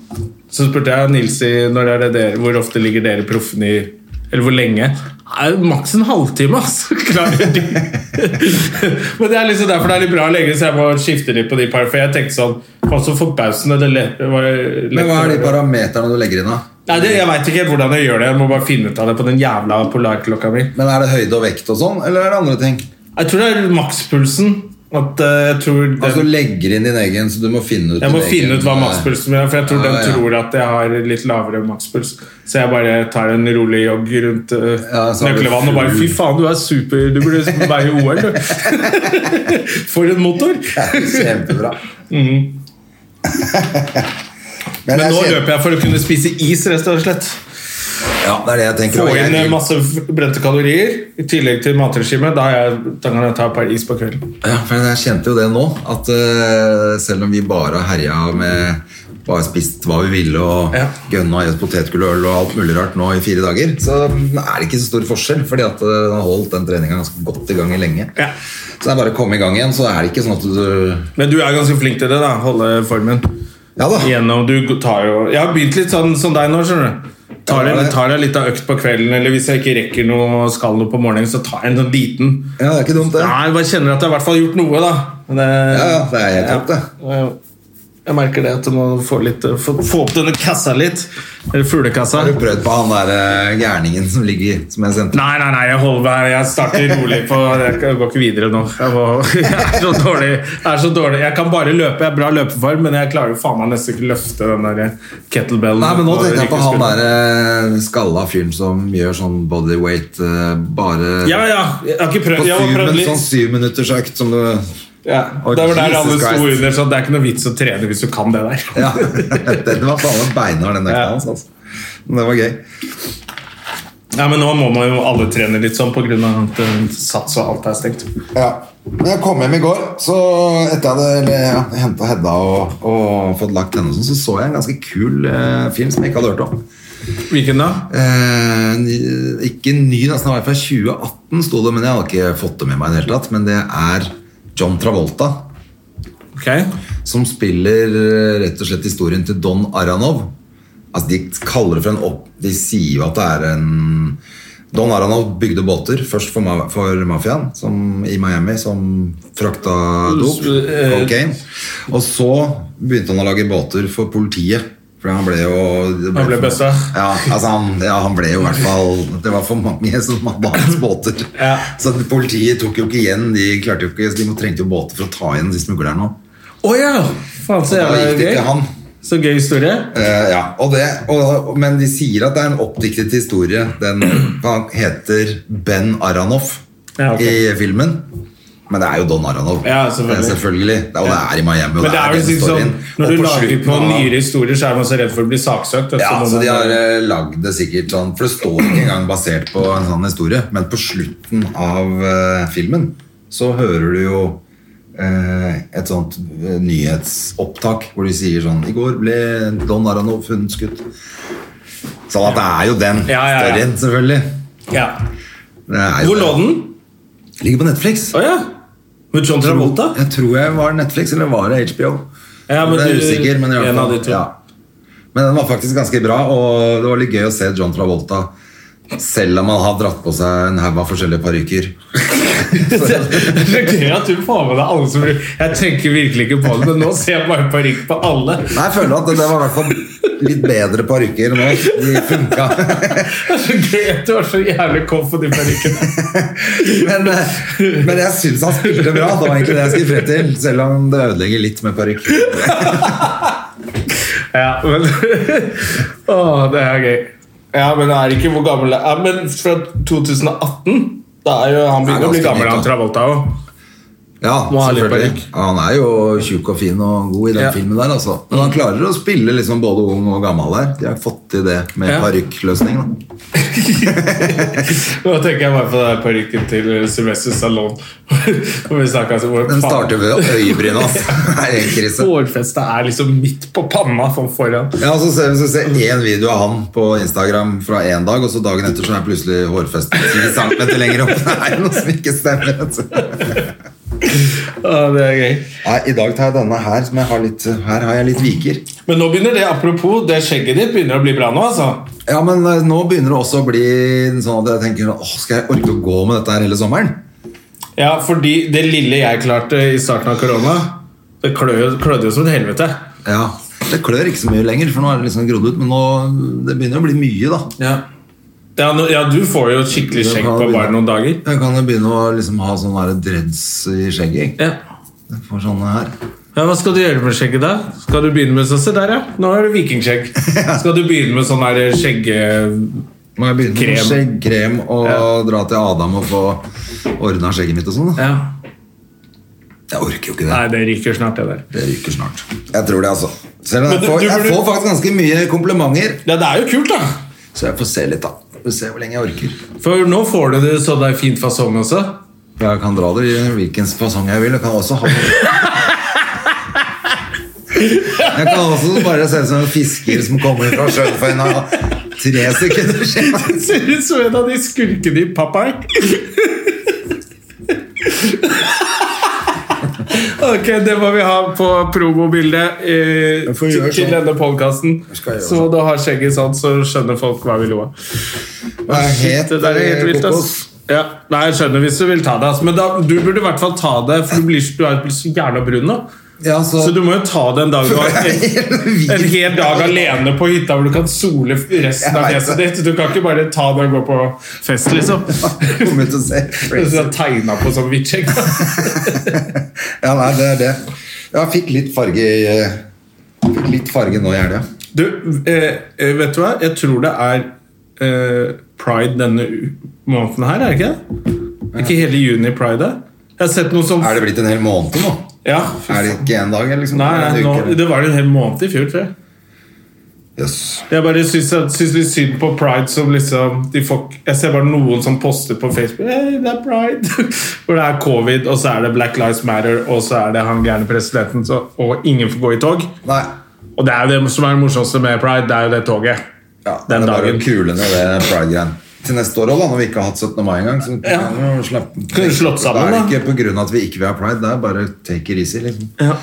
Speaker 1: Så spurte jeg Nils i når er det dere, hvor ofte ligger dere proffene i Eller hvor lenge? Nei, Maks en halvtime, altså. (laughs) Klarer de Men det er liksom derfor det er litt bra å legge så jeg må skifte litt på de par. For jeg tenkte sånn Faen, så forbausende det lett, var lett
Speaker 2: Men hva er de
Speaker 1: å-
Speaker 2: parameterne du legger inn, da?
Speaker 1: Nei, det, Jeg veit ikke helt hvordan jeg gjør det. Jeg må bare finne ut av det på den jævla polarklokka mi.
Speaker 2: Men er det høyde og vekt og sånn, eller er det andre ting?
Speaker 1: Jeg tror det er makspulsen. At eh, jeg tror den,
Speaker 2: Altså du legger inn din egen, så du må finne ut
Speaker 1: Jeg må
Speaker 2: din
Speaker 1: finne
Speaker 2: egen,
Speaker 1: ut hva
Speaker 2: eh,
Speaker 1: makspulsen min er, for jeg tror
Speaker 2: Ja,
Speaker 1: den
Speaker 2: ja.
Speaker 1: tror at jeg har litt lavere makspuls. Så jeg bare tar en rolig jogg rundt eh,
Speaker 2: Ja, så har du
Speaker 1: nøkkelvann og bare
Speaker 2: full-
Speaker 1: Fy faen, du er super! Du burde være i OL, du! (laughs) For en motor!
Speaker 2: (laughs) Kjempebra. Men,
Speaker 1: Mhm. Men
Speaker 2: jeg
Speaker 1: nå
Speaker 2: kjenner-
Speaker 1: løper jeg for å kunne spise is, rett og slett.
Speaker 2: Ja, det er det jeg tenker.
Speaker 1: Få
Speaker 2: og jeg
Speaker 1: inn eh,
Speaker 2: vil-
Speaker 1: masse brente kalorier i tillegg til matregimet. Da, er jeg- da kan jeg ta et par is på kvelden.
Speaker 2: Ja, for jeg kjente jo det nå, at eh, selv om vi bare herja med bare spist hva vi ville og
Speaker 1: Ja.
Speaker 2: gønna i oss potetgull og øl og alt mulig rart nå i fire dager, så er det ikke så stor forskjell, fordi at eh, den har holdt den treninga ganske godt i gang i lenge.
Speaker 1: Ja.
Speaker 2: Så det er bare å komme i gang igjen, så er det ikke sånn at du
Speaker 1: Men du er ganske flink til det, da. Holde formen.
Speaker 2: Ja da.
Speaker 1: Gjennom, du tar jo Jeg har begynt litt sånn som deg nå, skjønner du. Tar
Speaker 2: Ja,
Speaker 1: deg,
Speaker 2: det-
Speaker 1: tar deg litt av økt på kvelden, eller hvis jeg ikke rekker noe og skal noe på morgenen, så tar jeg en sånn liten.
Speaker 2: Ja, det er ikke dumt, det.
Speaker 1: Nei, jeg bare kjenner at jeg i hvert fall har gjort noe, da. Men Det,
Speaker 2: Sånn Ja, ja, det er helt topp, det.
Speaker 1: Jeg, jeg merker det at du må få, litt, få, få opp denne kassa litt. Eller fuglekassa.
Speaker 2: Har du prøvd på han der eh, gærningen som ligger Som jeg sendte?
Speaker 1: Nei, nei, nei, jeg holder meg Jeg starter rolig på Jeg går ikke videre nå. Jeg, må, (laughs) jeg, er, så dårlig, jeg er så dårlig. Jeg kan bare løpe. Jeg er bra løpeform, men jeg klarer jo faen meg nesten ikke løfte den der kettlebellen.
Speaker 2: Nei, men nå tenker jeg på han
Speaker 1: Rykkeskulderen.
Speaker 2: der eh, skalla fyren som gjør sånn bodyweight eh, bare
Speaker 1: Ja, ja. Jeg har ikke
Speaker 2: på
Speaker 1: prøvd. Jeg
Speaker 2: syv,
Speaker 1: har prøvd
Speaker 2: men sånn
Speaker 1: litt.
Speaker 2: syvminuttersøkt som du
Speaker 1: Ja. Det var der
Speaker 2: Jesus
Speaker 1: alle sto
Speaker 2: Christ.
Speaker 1: under, så det er ikke noe vits å trene hvis du kan det der.
Speaker 2: Ja. den var faen meg beinhard, den økta
Speaker 1: Ja.
Speaker 2: hans. Altså. Men det var gøy.
Speaker 1: Nei, men nå må man jo alle trene litt sånn pga. at eh, sats og alt er stengt.
Speaker 2: Ja. Når jeg kom hjem i går, så etter jeg hadde ja, henta Hedda og, og fått lagt henne, og sånn, så så jeg en ganske kul eh, film som jeg ikke hadde hørt om.
Speaker 1: Hvilken da?
Speaker 2: Eh, ny- ikke ny, da, den var fra 2018, sto det, men jeg hadde ikke fått det med meg. i det hele tatt Men det er John Travolta
Speaker 1: Ok.
Speaker 2: som spiller eh, rett og slett historien til Don Aranov. Altså, de kaller det for en opp... De sier jo at det er en Don Aranov bygde båter, først for, ma for mafiaen som, i Miami, som frakta dop,
Speaker 1: S- eh,
Speaker 2: cocaine. Og så begynte han å lage båter for politiet For han ble jo det
Speaker 1: Han ble
Speaker 2: for-
Speaker 1: bøssa.
Speaker 2: Ja, altså han, ja, han ble jo i hvert fall Det var for mange som hadde hans båter.
Speaker 1: Ja.
Speaker 2: Så politiet tok jo ikke igjen. De klarte jo ikke, så de må- trengte jo båter for å ta igjen de smuglerne òg.
Speaker 1: Å ja! Faen, så
Speaker 2: Da gikk
Speaker 1: jævla
Speaker 2: det
Speaker 1: gøy.
Speaker 2: til han.
Speaker 1: Så gøy historie.
Speaker 2: Eh, ja, og det, og, Men de sier at det er en oppdiktet historie.
Speaker 1: (clears throat)
Speaker 2: Den han heter Ben Aranoff
Speaker 1: Ja, ok.
Speaker 2: i filmen. Men det er jo Don Aranoff.
Speaker 1: Ja, selvfølgelig.
Speaker 2: Det er selvfølgelig. Det, og det er i Miami. Og
Speaker 1: Men det er vel
Speaker 2: den
Speaker 1: liksom sånn,
Speaker 2: storyen.
Speaker 1: Når
Speaker 2: Og
Speaker 1: du
Speaker 2: på
Speaker 1: lager
Speaker 2: slutten
Speaker 1: på
Speaker 2: av-
Speaker 1: nyere historier, så er man så redd for å bli saksøkt. og
Speaker 2: ja,
Speaker 1: må
Speaker 2: så
Speaker 1: man-
Speaker 2: De har eh, lagd det sikkert sånn, for det står ikke engang basert på en sånn historie. Men på slutten av eh, filmen så hører du jo eh, et sånt eh, nyhetsopptak hvor de sier sånn I går ble Don Aranov funnet skutt. Sånn at det er jo den
Speaker 1: Ja, ja, ja.
Speaker 2: storyen, selvfølgelig.
Speaker 1: ja.
Speaker 2: Det er jo
Speaker 1: Hvor lå
Speaker 2: det.
Speaker 1: den?
Speaker 2: Ligger på Netflix.
Speaker 1: Å ja! Med John Travolta?
Speaker 2: Jeg tror jeg var Netflix, eller var det HBO?
Speaker 1: Ja, men
Speaker 2: jeg er
Speaker 1: du-
Speaker 2: usikker, men i hvert
Speaker 1: en av
Speaker 2: fall
Speaker 1: de to.
Speaker 2: ja. Men den var faktisk ganske bra, og det var litt gøy å se John Travolta. Selv om han har dratt på seg en haug av forskjellige parykker.
Speaker 1: (laughs) Det er gøy at du får med deg alle som Jeg tenker virkelig ikke på det, men nå ser jeg bare parykk på alle.
Speaker 2: Nei, jeg føler at det, det var i hvert fall litt bedre parykker nå. De funka.
Speaker 1: Det er så gøy at du har så jævlig koff på de parykkene.
Speaker 2: (laughs) Men, eh, men jeg syns han spilte bra. Det var egentlig det jeg skulle frem til. Selv om det ødelegger litt med parykk.
Speaker 1: Ja, men (laughs) Å, det er gøy. Ja, men er det ikke hvor gammel det er Men fra 2018? Da er jo han begynner å bli
Speaker 2: ganske
Speaker 1: gammel,
Speaker 2: nytt,
Speaker 1: han
Speaker 2: da.
Speaker 1: Travolta òg.
Speaker 2: Ja,
Speaker 1: Må ha litt
Speaker 2: selvfølgelig.
Speaker 1: parykk.
Speaker 2: Ja, han er jo tjukk og fin og god i den
Speaker 1: Ja.
Speaker 2: filmen der, altså. Men han klarer å spille liksom både ung og gammel der. De har fått til det med
Speaker 1: Ja.
Speaker 2: parykkløsning. da.
Speaker 1: Nå tenker jeg bare på den parykken til Sylvester Stallone. (laughs) Hvor vi snakket om hvor
Speaker 2: Den
Speaker 1: faen-
Speaker 2: starter ved øyebryna. ass. Det er en krise.
Speaker 1: Hårfestet er liksom midt på panna sånn foran.
Speaker 2: Ja, og så ser vi så ser jeg en video av han på Instagram fra én dag, og så dagen etter så er plutselig hårfestet 10 cm lenger opp. Det er noe som ikke stemmer. vet du.
Speaker 1: Å, det er gøy.
Speaker 2: Nei, I dag tar jeg denne her, som jeg har litt, her har jeg litt viker.
Speaker 1: Men nå begynner det, apropos, det skjegget ditt begynner å bli bra nå, altså.
Speaker 2: Ja, men eh, nå begynner det også å bli sånn at jeg tenker åh, skal jeg orke å gå med dette her hele sommeren?
Speaker 1: Ja, fordi det lille jeg klarte i starten av korona, det klø- klødde jo som et helvete.
Speaker 2: Ja, Det klør ikke så mye lenger, for nå er det liksom grodd ut. Men nå, det begynner å bli mye, da.
Speaker 1: Ja. Ja, nå- ja, du får jo et skikkelig
Speaker 2: Det
Speaker 1: skjegg
Speaker 2: kan
Speaker 1: på
Speaker 2: begynne.
Speaker 1: bare noen dager.
Speaker 2: Jeg kan jo begynne å liksom ha sånne her dreads i skjegget. jeg.
Speaker 1: Ja.
Speaker 2: Jeg får sånne her.
Speaker 1: ja, Hva skal du gjøre med skjegget, da? Skal du begynne med sånn, Se der, ja. Nå er det vikingskjegg. (laughs) Skal du begynne med sånn her skjegge...
Speaker 2: Må jeg begynne med
Speaker 1: Krem.
Speaker 2: skjeggkrem og dra til Adam og få ordna skjegget mitt og sånn? da?
Speaker 1: Ja.
Speaker 2: Jeg orker jo ikke det.
Speaker 1: Nei, det ryker snart, det der.
Speaker 2: Det ryker snart. Jeg tror det, altså. Selv om
Speaker 1: Men
Speaker 2: jeg
Speaker 1: du-
Speaker 2: får,
Speaker 1: du
Speaker 2: jeg
Speaker 1: burde-
Speaker 2: får faktisk ganske mye komplimenter,
Speaker 1: Ja, det er jo kult, da.
Speaker 2: så jeg får se litt, da. Får se hvor lenge jeg orker.
Speaker 1: For nå får du det sånn der fint fasong også.
Speaker 2: Jeg kan dra det i hvilken fasong jeg vil. Jeg kan også ha Jeg kan også bare se ut som en fisker som kommer fra sjøen for en av tre sekunder siden.
Speaker 1: (laughs) Det ser ut som en av de skurkene i Popeye. (laughs) ok, det må vi ha på promobildet eh,
Speaker 2: Jeg får gjøre
Speaker 1: til
Speaker 2: sånn.
Speaker 1: denne podkasten.
Speaker 2: skal gjøre
Speaker 1: Så du har skjegget sånn, så skjønner folk hva vi lo av.
Speaker 2: Det er helt, eh,
Speaker 1: Det der er helt vilt, ass.
Speaker 2: kokos.
Speaker 1: Ja. Nei, jeg skjønner hvis du vil ta det, ass. men da, du burde i hvert fall ta det, for du, blir, så- du er jo så jævla brun nå.
Speaker 2: Ja, så,
Speaker 1: Så du må jo ta det en dag du
Speaker 2: (laughs)
Speaker 1: har
Speaker 2: helt
Speaker 1: en,
Speaker 2: vilt.
Speaker 1: en hel dag alene på hytta hvor du kan sole
Speaker 2: Jeg
Speaker 1: resten av
Speaker 2: vet
Speaker 1: fjeset
Speaker 2: det.
Speaker 1: ditt. Du kan ikke bare ta det og gå på fest,
Speaker 2: (laughs)
Speaker 1: liksom.
Speaker 2: Kom ut og se.
Speaker 1: (laughs) Så tegna på sånn som hvitskjegg.
Speaker 2: (laughs) Ja, nei, det er det. Jeg fikk litt farge i eh, fikk Litt farge nå i helga.
Speaker 1: Du, eh, eh, vet du hva? Jeg tror det er eh, pride denne u- måneden her, er det ikke det? Er Ikke hele juni pride? er? Jeg har sett noe som
Speaker 2: Er det blitt en hel måned nå?
Speaker 1: Ja. fy
Speaker 2: Er det
Speaker 1: faen.
Speaker 2: ikke én dag? eller Liksom?
Speaker 1: Nei, nei,
Speaker 2: En uke,
Speaker 1: nå,
Speaker 2: eller?
Speaker 1: det var jo en hel måned i fjor, tror jeg.
Speaker 2: Jøss.
Speaker 1: Jeg bare syns, at- syns litt synd på Pride som liksom de får, Jeg ser bare noen som poster på Facebook hey, det er Pride (laughs) Hvor det er covid, og så er det Black Lives Matter, og så er det han gærne presidenten, så, og ingen får gå i tog.
Speaker 2: Nei.
Speaker 1: Og det er jo det som er det morsomste med Pride, det er jo det toget.
Speaker 2: Ja,
Speaker 1: Den
Speaker 2: det er bare
Speaker 1: dagen.
Speaker 2: å kule ned det pride-greien. Til neste år også, da, når vi ikke har hatt 17. mai engang. Så
Speaker 1: Ja.
Speaker 2: kan vi jo slappe
Speaker 1: Kunne slått sammen,
Speaker 2: Da er
Speaker 1: da.
Speaker 2: det ikke på grunn av at vi ikke vil ha pride, det er bare take it easy, liksom.
Speaker 1: Ja.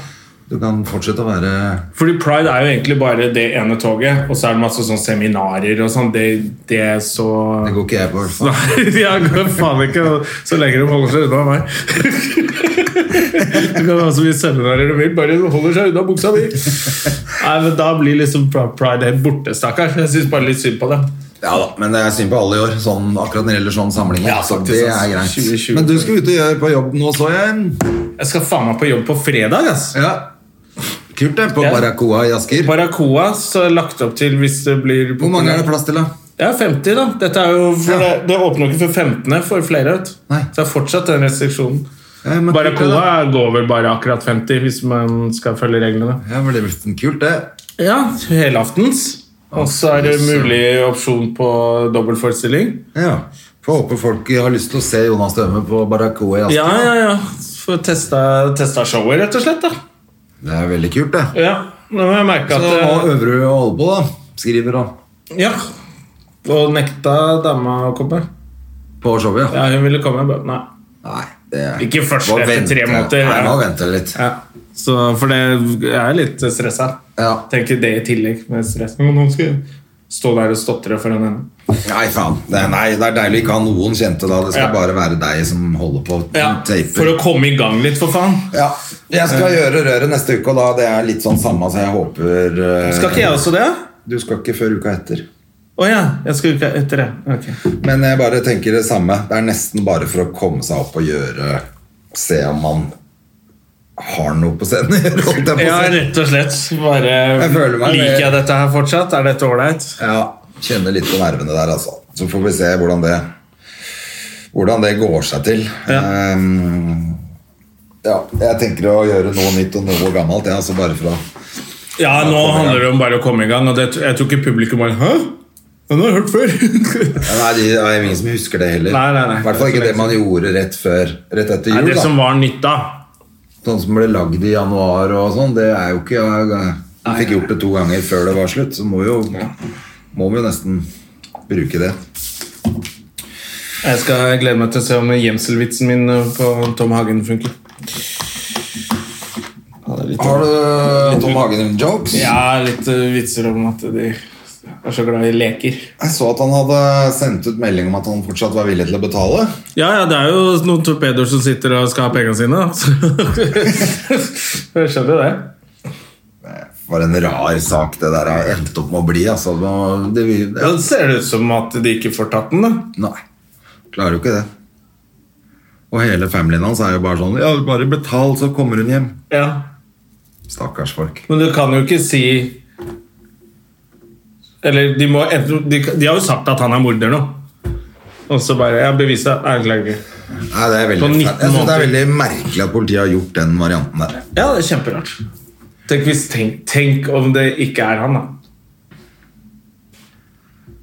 Speaker 2: Du kan fortsette å være
Speaker 1: Fordi Pride er jo egentlig bare det ene toget, og så er det masse sånn seminarer og sånn. Det, det er så
Speaker 2: Det går ikke jeg på. i hvert fall.
Speaker 1: Nei, jeg går faen ikke så lenge de holder seg unna meg. Du kan ha så mye seminarer du vil, bare de holder seg unna buksa di. Nei, men Da blir liksom Pri- Pride helt borte, stakkars. Jeg syns bare litt synd på det.
Speaker 2: Ja da, Men det er synd på alle i år, sånn, akkurat når det gjelder sånne samlinger.
Speaker 1: Ja,
Speaker 2: så
Speaker 1: faktisk, altså.
Speaker 2: det
Speaker 1: ass.
Speaker 2: er greit.
Speaker 1: 2020.
Speaker 2: Men du skal ut og gjøre på jobb nå, så jeg.
Speaker 1: Jeg skal faen meg på jobb på fredag, ass.
Speaker 2: Ja. Kult, det. På
Speaker 1: Ja.
Speaker 2: Barracoa i Asker.
Speaker 1: Barracoa så lagt opp til hvis det blir
Speaker 2: Hvor mange er det plass til, da?
Speaker 1: Ja, 50, da. Dette er jo for
Speaker 2: Ja.
Speaker 1: det, det åpner jo ikke for 15. for flere. Vet. du.
Speaker 2: Nei.
Speaker 1: Så det er fortsatt den restriksjonen.
Speaker 2: Ja, Eh, men-
Speaker 1: Barracoa går vel bare akkurat 50 hvis man skal følge reglene.
Speaker 2: Ja, men det blir kult, det.
Speaker 1: Ja, helaftens. Og så er det mulig opsjon på dobbeltforestilling.
Speaker 2: Ja. Får håpe folk har lyst til å se Jonas Døme på Barracoa i Asker.
Speaker 1: Ja, ja, ja. Få testa, testa showet, rett og slett. da
Speaker 2: Det er veldig kult, det.
Speaker 1: Ja, Nå må jeg merke
Speaker 2: Så
Speaker 1: at
Speaker 2: hva
Speaker 1: eh,
Speaker 2: øver du å holde på, da? Skriver da.
Speaker 1: Ja. Og nekta dama å komme.
Speaker 2: På showet, ja.
Speaker 1: Ja, hun ville komme. jeg bare, Nei.
Speaker 2: Nei, det er
Speaker 1: Ikke først
Speaker 2: Må
Speaker 1: etter
Speaker 2: vente.
Speaker 1: tre måneder,
Speaker 2: Nei,
Speaker 1: ja.
Speaker 2: må vente litt.
Speaker 1: Ja. Så, for det, jeg er litt stressa.
Speaker 2: Ja.
Speaker 1: Tenker det i tillegg med stress. Men nå skal jeg stå der og stotre foran henne.
Speaker 2: Nei, faen. Det er, nei, det er deilig ikke å ha noen kjente da. Det
Speaker 1: Ja.
Speaker 2: skal bare være deg som holder på og
Speaker 1: Ja,
Speaker 2: taper.
Speaker 1: for å komme i gang litt, for faen.
Speaker 2: Ja. Jeg skal gjøre røret neste uke, og da det er litt sånn samme, så jeg håper eh,
Speaker 1: Skal ikke jeg også det?
Speaker 2: Du skal ikke før uka etter.
Speaker 1: Å ja. Jeg skal uka etter det. Ok.
Speaker 2: Men jeg bare tenker det samme. Det er nesten bare for å komme seg opp og gjøre Se om man har noe på scenen (laughs) å gjøre, holdt jeg på
Speaker 1: Ja,
Speaker 2: å si.
Speaker 1: rett og slett. Bare
Speaker 2: Jeg føler meg-
Speaker 1: Liker jeg dette her fortsatt? Er dette ålreit?
Speaker 2: Ja. Kjenner litt på nervene der, altså. Så får vi se hvordan det Hvordan det går seg til.
Speaker 1: Ja.
Speaker 2: Ehm, ja, jeg tenker å gjøre noe nytt og noe gammelt, jeg, altså bare for å
Speaker 1: Ja, nå
Speaker 2: komme i
Speaker 1: handler det om bare å komme i gang. Og det, jeg tror ikke publikum bare Hæ? Den har jeg hørt (laughs) før.
Speaker 2: Ja, Nei, de, det er ingen som husker det heller.
Speaker 1: Nei, nei, nei.
Speaker 2: I hvert fall ikke det man gjorde rett før Rett etter
Speaker 1: Nei,
Speaker 2: jul.
Speaker 1: det som
Speaker 2: da.
Speaker 1: var nytt da.
Speaker 2: Sånn som ble lagd i januar og sånn, det er jo ikke Du fikk gjort det to ganger før det var slutt, så må jo Må vi jo nesten bruke det.
Speaker 1: Jeg skal glede meg til å se om gjemselvitsen min eh, på Tom Hagen funker. Ja, det er litt-
Speaker 2: Har du Tom Hagen-jokes?
Speaker 1: Ja, litt eh, vitser om at de er så glad i leker.
Speaker 2: Jeg så at han hadde sendt ut melding om at han fortsatt var villig til å betale.
Speaker 1: Ja, ja, det er jo noen torpedoer som sitter og skal ha pengene sine. da. Så- (laughs) Jeg skjønner jo det.
Speaker 2: For en rar sak det der har endt opp med å bli. Altså. Det, det,
Speaker 1: Ja, det ser det ut som at de ikke får tatt den, da.
Speaker 2: Nei, klarer jo ikke det. Og hele familien hans er jo bare sånn Ja, bare betal, så kommer hun hjem.
Speaker 1: Ja.
Speaker 2: Stakkars folk.
Speaker 1: Men du kan jo ikke si Eller de må enten- de, de har jo sagt at han er morder nå. Og så bare Ja, bevis det. Nei, jeg klarer ikke.
Speaker 2: Nei, det er veldig,
Speaker 1: På 19
Speaker 2: jeg synes det er
Speaker 1: måneder.
Speaker 2: veldig merkelig at politiet har gjort den varianten der.
Speaker 1: Ja, det er kjemperart. Tenk, hvis, tenk, tenk om det ikke er han, da.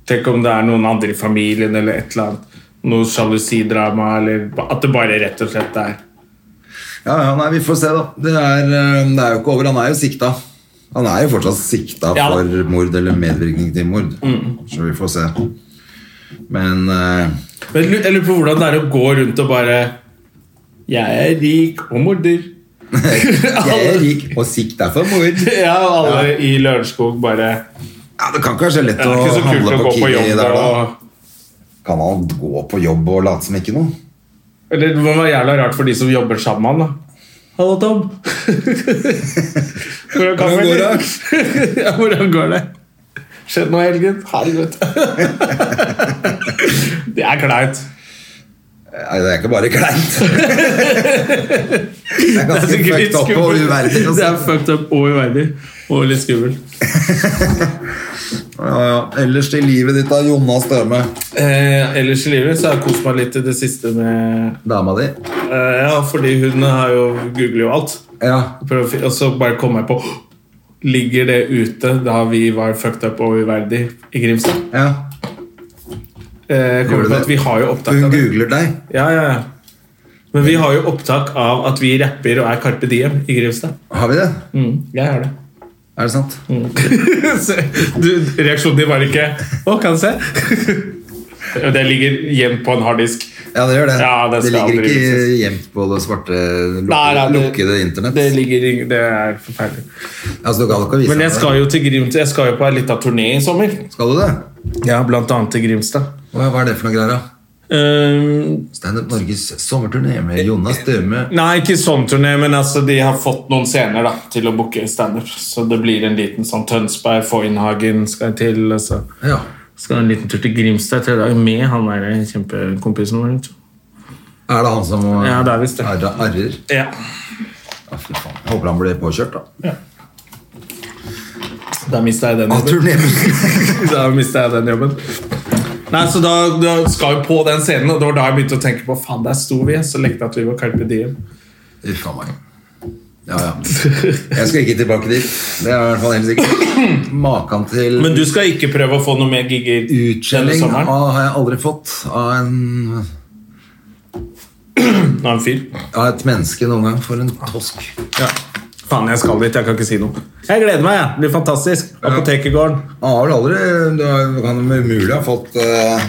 Speaker 1: Tenk om det er noen andre i familien eller et eller annet. Noe sjalusidrama, eller ba- at det bare rett og slett er
Speaker 2: Ja, ja, nei, vi får se, da. Det er, eh, det er jo ikke over. Han er jo sikta. Han er jo fortsatt sikta
Speaker 1: Ja, da. Mm.
Speaker 2: for mord eller medvirkning til mord. Så vi får se. Men
Speaker 1: (laughs)
Speaker 2: eh,
Speaker 1: Men jeg lu- jeg lurer på hvordan det er å gå rundt og bare Jeg er rik og morder.
Speaker 2: jeg er rik og sikta for mord.
Speaker 1: (laughs) Ja, og alle i Lørenskog bare
Speaker 2: Ja, det kan ikke være så lett
Speaker 1: Det
Speaker 2: å
Speaker 1: er ikke så kult
Speaker 2: handle
Speaker 1: å
Speaker 2: på
Speaker 1: gå på
Speaker 2: Kiwi
Speaker 1: jobb
Speaker 2: der,
Speaker 1: der
Speaker 2: da.
Speaker 1: og
Speaker 2: Kan han gå på jobb og late som ikke noe?
Speaker 1: Eller det må være jævla rart for de som jobber sammen med han, da. Hallo, Tom. (laughs) Hvordan
Speaker 2: Hvordan går
Speaker 1: det? (laughs) ja, hvordan går det? Skjedd noe i helgen? Helvete. (laughs) det er kleint.
Speaker 2: Nei, det er ikke bare
Speaker 1: (laughs)
Speaker 2: kleint. det er
Speaker 1: Det
Speaker 2: ganske
Speaker 1: er sikkert litt
Speaker 2: fucked up og
Speaker 1: skummelt.
Speaker 2: uverdig.
Speaker 1: Det er
Speaker 2: Altså.
Speaker 1: fucked up og uverdig. Og litt skummelt.
Speaker 2: Ja, ja. Ellers i livet ditt, da, Jonas Døme.
Speaker 1: Eh, ellers i livet så har jeg kost meg litt i det siste med
Speaker 2: Dama di.
Speaker 1: eh, Ja, fordi hun har jo googlet jo alt.
Speaker 2: Ja.
Speaker 1: Prøv, å fi- og så bare kom jeg på Ligger det ute da vi var fucked up og uverdig i Grimstad?
Speaker 2: ja.
Speaker 1: Eh, kommer
Speaker 2: Gjorde
Speaker 1: på
Speaker 2: det?
Speaker 1: at vi har jo
Speaker 2: For
Speaker 1: opptak
Speaker 2: hun
Speaker 1: av det.
Speaker 2: googler deg.
Speaker 1: Ja, ja, ja. Men vi har jo opptak av at vi rapper og er Carpe Diem i Grimstad.
Speaker 2: Har vi det?
Speaker 1: Mm, jeg har det. Mm.
Speaker 2: Er det sant?
Speaker 1: (laughs) Så, du, (laughs) reaksjonen din var ikke 'Å, kan jeg se'. det ligger gjemt på en harddisk.
Speaker 2: Ja, det gjør det.
Speaker 1: Ja, det
Speaker 2: det,
Speaker 1: skal
Speaker 2: ligger
Speaker 1: aldri
Speaker 2: ikke
Speaker 1: vises.
Speaker 2: gjemt på det svarte, lukkede,
Speaker 1: Nei, nei, det-
Speaker 2: lukkede internett.
Speaker 1: Det, ligger, i- det er forferdelig.
Speaker 2: altså, du kan ikke vise
Speaker 1: Men jeg
Speaker 2: det.
Speaker 1: skal jo til Grimt, jeg skal jo på en liten turné i sommer.
Speaker 2: Skal du det?
Speaker 1: Ja, Blant annet til Grimstad.
Speaker 2: Hva hva er det for noe greier, da?
Speaker 1: Ehm,
Speaker 2: Standup Norges sommerturné med Jonas Døme.
Speaker 1: nei, ikke sånn turné, men altså, de har fått noen scener da, til å booke standup. Så det blir en liten sånn Tønsberg, Foynhagen skal jeg til. Og så
Speaker 2: Ja.
Speaker 1: skal jeg en liten tur til Grimstad til dag med han der eh, kjempekompisen vår. vet du.
Speaker 2: Er det han som
Speaker 1: Ja, det er visst det.
Speaker 2: arrer? arrer?
Speaker 1: Ja.
Speaker 2: Ja, fy faen. Jeg håper han blir påkjørt, da.
Speaker 1: Da mista jeg den.
Speaker 2: Ja,
Speaker 1: jobben. (laughs)
Speaker 2: turné
Speaker 1: Da mista jeg den jobben. Nei, så da, da skal vi på den scenen, og det var da jeg begynte å tenke på faen, der sto vi. Så lekte jeg at vi var Carpe Diem.
Speaker 2: Uff a meg. Ja, ja. Jeg skal ikke tilbake dit. Det er i hvert fall helt sikkert. Makan til
Speaker 1: Men du skal ikke prøve å få noe mer gigger denne
Speaker 2: utskjelling
Speaker 1: sommeren?
Speaker 2: av- har jeg aldri fått av, en,
Speaker 1: Nå er han fyr.
Speaker 2: av et menneske noen gang. For en tosk.
Speaker 1: Ja. Faen, jeg skal dit. Jeg kan ikke si noe. Jeg gleder meg. jeg. Det blir fantastisk. Apotekergården.
Speaker 2: Han har vel aldri Du har- kan umulig ha fått eh,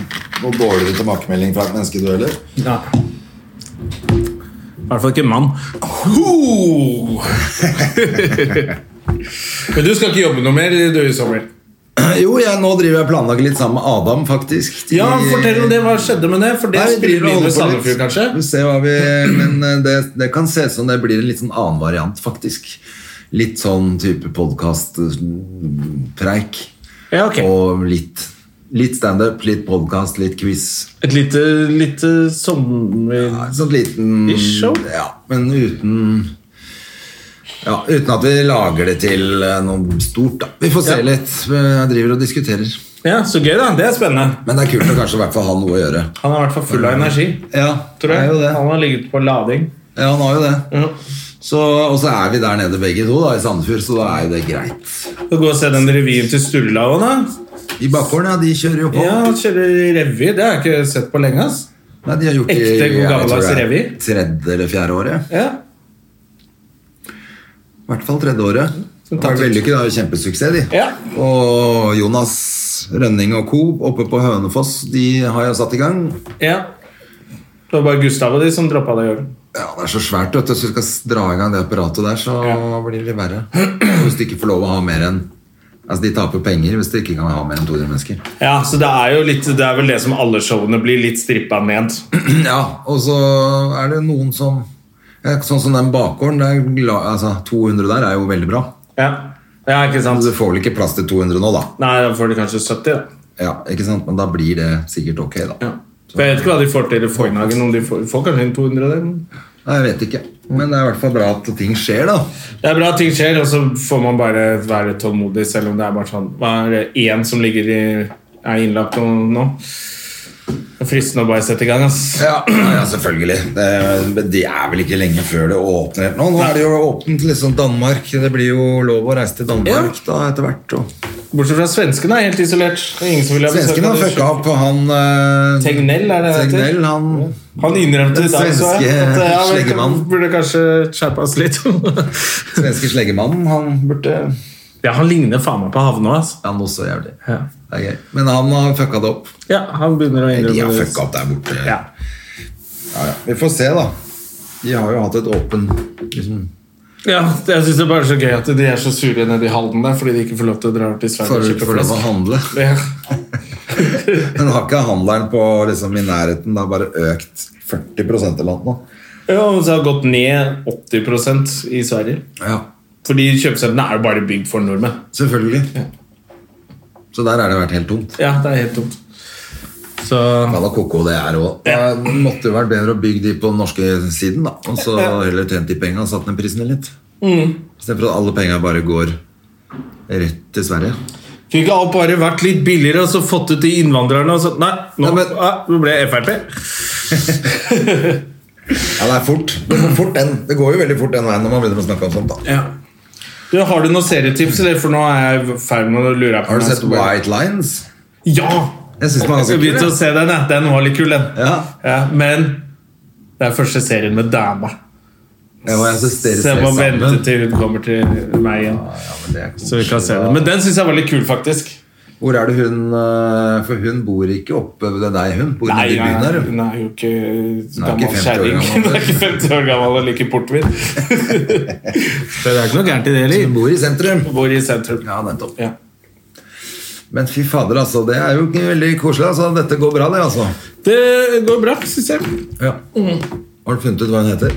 Speaker 2: noe dårligere tilbakemelding fra et menneske, du heller.
Speaker 1: Ja. I hvert fall ikke (laughs) mann. Ho! Men du skal ikke jobbe noe mer du i sommer?
Speaker 2: Jo, jeg, nå driver jeg og planlegger litt sammen med Adam, faktisk.
Speaker 1: Ja,
Speaker 2: I-
Speaker 1: fortell om det. Hva skjedde med det? For det
Speaker 2: Nei, vi
Speaker 1: spiller
Speaker 2: driver og
Speaker 1: vi inn i
Speaker 2: holder på litt.
Speaker 1: Sandefjord, kanskje?
Speaker 2: Vi ser hva vi,
Speaker 1: (clears throat)
Speaker 2: men eh, det, det kan se ut som det blir en litt sånn annen variant, faktisk. Litt sånn type podkast-preik.
Speaker 1: Ja, ok.
Speaker 2: Og litt, litt standup, litt podkast, litt quiz.
Speaker 1: Et lite, lite sommer...
Speaker 2: Ja, en Sånn liten
Speaker 1: Ish show?
Speaker 2: Ja, men uten ja, Uten at vi lager det til eh, noe stort, da. Vi får se
Speaker 1: Ja.
Speaker 2: litt. Jeg driver og diskuterer.
Speaker 1: Ja, så gøy, da. Det er spennende.
Speaker 2: Men det er kult å kanskje i hvert fall ha noe å gjøre.
Speaker 1: Han er i hvert fall full av energi.
Speaker 2: Ja,
Speaker 1: Tror
Speaker 2: det
Speaker 1: jeg.
Speaker 2: er jo det.
Speaker 1: Han har ligget på lading.
Speaker 2: Ja, han har jo det.
Speaker 1: Ja.
Speaker 2: Så, og så er vi der nede begge to da, i Sandefjord, så da er jo det greit.
Speaker 1: Skal gå og se den revyen til Sturla òg, da.
Speaker 2: I bakgården, ja, de kjører jo på.
Speaker 1: Ja, han kjører revy. Det har jeg ikke sett på lenge. ass.
Speaker 2: Nei, de har gjort
Speaker 1: Ekte
Speaker 2: det i-
Speaker 1: god
Speaker 2: jeg tror
Speaker 1: gammeldags
Speaker 2: det er
Speaker 1: revy.
Speaker 2: Tredje eller fjerde året.
Speaker 1: Ja.
Speaker 2: I hvert fall tredje året. Det har vært vellykket, det er jo kjempesuksess, de.
Speaker 1: Mm, Ja.
Speaker 2: Og Jonas Rønning og co. oppe på Hønefoss, de har jo satt i gang.
Speaker 1: ja. Det var bare Gustav og de som droppa det i år.
Speaker 2: Ja, det er så svært, vet du. Hvis vi skal dra i gang det apparatet der, så blir det verre. Hvis du ikke får lov å ha mer enn Altså, de taper penger hvis du ikke kan ha mer enn 200 mennesker.
Speaker 1: Ja, så det er jo litt Det er vel det som alle showene blir litt strippa ned.
Speaker 2: Ja, og så er det noen som ja, Sånn som den bakgården. Det er, gla- altså, 200 der er jo veldig bra.
Speaker 1: Ja, ja ikke sant?
Speaker 2: Du får vel ikke plass til 200 nå, da.
Speaker 1: Nei, da får de kanskje 70, da.
Speaker 2: Ja, ikke sant? Men da blir det sikkert ok, da.
Speaker 1: Ja. For jeg vet ikke hva de får til i Foynhagen. Om de får, får kanskje en 200 der. men-
Speaker 2: Nei, Jeg vet ikke. Men det er i hvert fall bra at ting skjer, da.
Speaker 1: Det er bra at ting skjer, og så får man bare være tålmodig, selv om det er bare sånn Hva er det én som ligger i er innlagt nå? nå? Det er fristende å bare sette i gang, ass.
Speaker 2: Ja, ja selvfølgelig. Det, men det er vel ikke lenge før det åpner helt nå. Nå er det jo åpent liksom Danmark. Det blir jo lov å reise til Danmark da etter hvert. Og.
Speaker 1: Bortsett fra svenskene er helt isolert. Det er Ingen som vil ha besøk
Speaker 2: Svensken har
Speaker 1: av det.
Speaker 2: fucka opp, og han eh,
Speaker 1: Tegnell, er det det heter?
Speaker 2: Tegnell, han
Speaker 1: Han innrømte
Speaker 2: Den
Speaker 1: i dag, så jeg.
Speaker 2: svenske
Speaker 1: At ja, vet du,
Speaker 2: sleggemannen.
Speaker 1: burde kanskje skjerpa oss litt.
Speaker 2: (laughs) svenske sleggemannen, han burde
Speaker 1: ja, han ligner faen meg på Havne ass.
Speaker 2: Han er også jævlig.
Speaker 1: Ja.
Speaker 2: Det er gøy. Men han har fucka det opp.
Speaker 1: ja, han begynner å
Speaker 2: De har
Speaker 1: innrømme
Speaker 2: fucka opp der borte.
Speaker 1: Ja.
Speaker 2: Ja, ja. Vi får se, da. De har jo hatt et åpen liksom,
Speaker 1: Ja, det- jeg syns det er bare så gøy at de er så sure nede i Halden der fordi de ikke får lov til å dra over til Sverige og
Speaker 2: forut
Speaker 1: kjøpe
Speaker 2: for lov å
Speaker 1: flasker.
Speaker 2: handle.
Speaker 1: Ja. (laughs)
Speaker 2: (laughs) Men har ikke handelen på liksom, i nærheten da bare økt 40 eller noe? nå?
Speaker 1: Ja, og så har det gått ned 80 i Sverige.
Speaker 2: Ja,
Speaker 1: Fordi kjøpesentrene er jo bare bygd for nordmenn.
Speaker 2: selvfølgelig. Så der har det vært helt tomt.
Speaker 1: Ja, det er helt dumt. Så
Speaker 2: Ja, da koko det er også. Det måtte jo vært bedre å bygge de på den norske siden, da. Og så heller tjent de penga og satt ned prisene litt.
Speaker 1: Mm.
Speaker 2: Istedenfor at alle penga bare går rett til Sverige.
Speaker 1: Kunne ikke alt bare vært litt billigere og så fått ut de innvandrerne? Og så, nei, nå
Speaker 2: Ja, men-
Speaker 1: ah, nå ble jeg Frp.
Speaker 2: Ja, det er fort. Det går, fort den. det går jo veldig fort den veien når man begynner å snakke om sånt. da.
Speaker 1: Ja. Du, har du noen serietips, eller? For nå er jeg i ferd med å lure på
Speaker 2: Har
Speaker 1: om
Speaker 2: du
Speaker 1: jeg
Speaker 2: sett
Speaker 1: skal bare-
Speaker 2: White Lines?
Speaker 1: Ja!
Speaker 2: Jeg synes den var
Speaker 1: Jeg
Speaker 2: ganske
Speaker 1: skal
Speaker 2: kul.
Speaker 1: begynne å
Speaker 2: jeg.
Speaker 1: se den. jeg. Den var litt kul, den.
Speaker 2: Ja.
Speaker 1: Ja, men det er første serien med dama.
Speaker 2: Jeg var- jeg synes dere
Speaker 1: Så
Speaker 2: ser
Speaker 1: jeg må vente
Speaker 2: sammen.
Speaker 1: til hun kommer til meg igjen.
Speaker 2: Ja, men det er
Speaker 1: Så vi kan se det. Men den syns jeg var litt kul, faktisk.
Speaker 2: Hvor er det hun eh, For hun bor ikke oppe ved deg, hun. Bor inne i byen her, hun.
Speaker 1: hun er jo ikke
Speaker 2: Hun er ikke
Speaker 1: gammel
Speaker 2: 50 år
Speaker 1: kjerring. (laughs) Hun
Speaker 2: gammel.
Speaker 1: er ikke 50 år gammel og liker portvin. Så (laughs) det er ikke noe gærent i det
Speaker 2: Hun
Speaker 1: heller.
Speaker 2: bor i sentrum.
Speaker 1: Hun Bor i sentrum.
Speaker 2: Ja, nettopp.
Speaker 1: Ja.
Speaker 2: Men fy fader, altså. Det er jo ikke veldig koselig. altså. Dette går bra, det, altså.
Speaker 1: Det går bra, syns jeg.
Speaker 2: Ja. Har du funnet ut hva hun heter?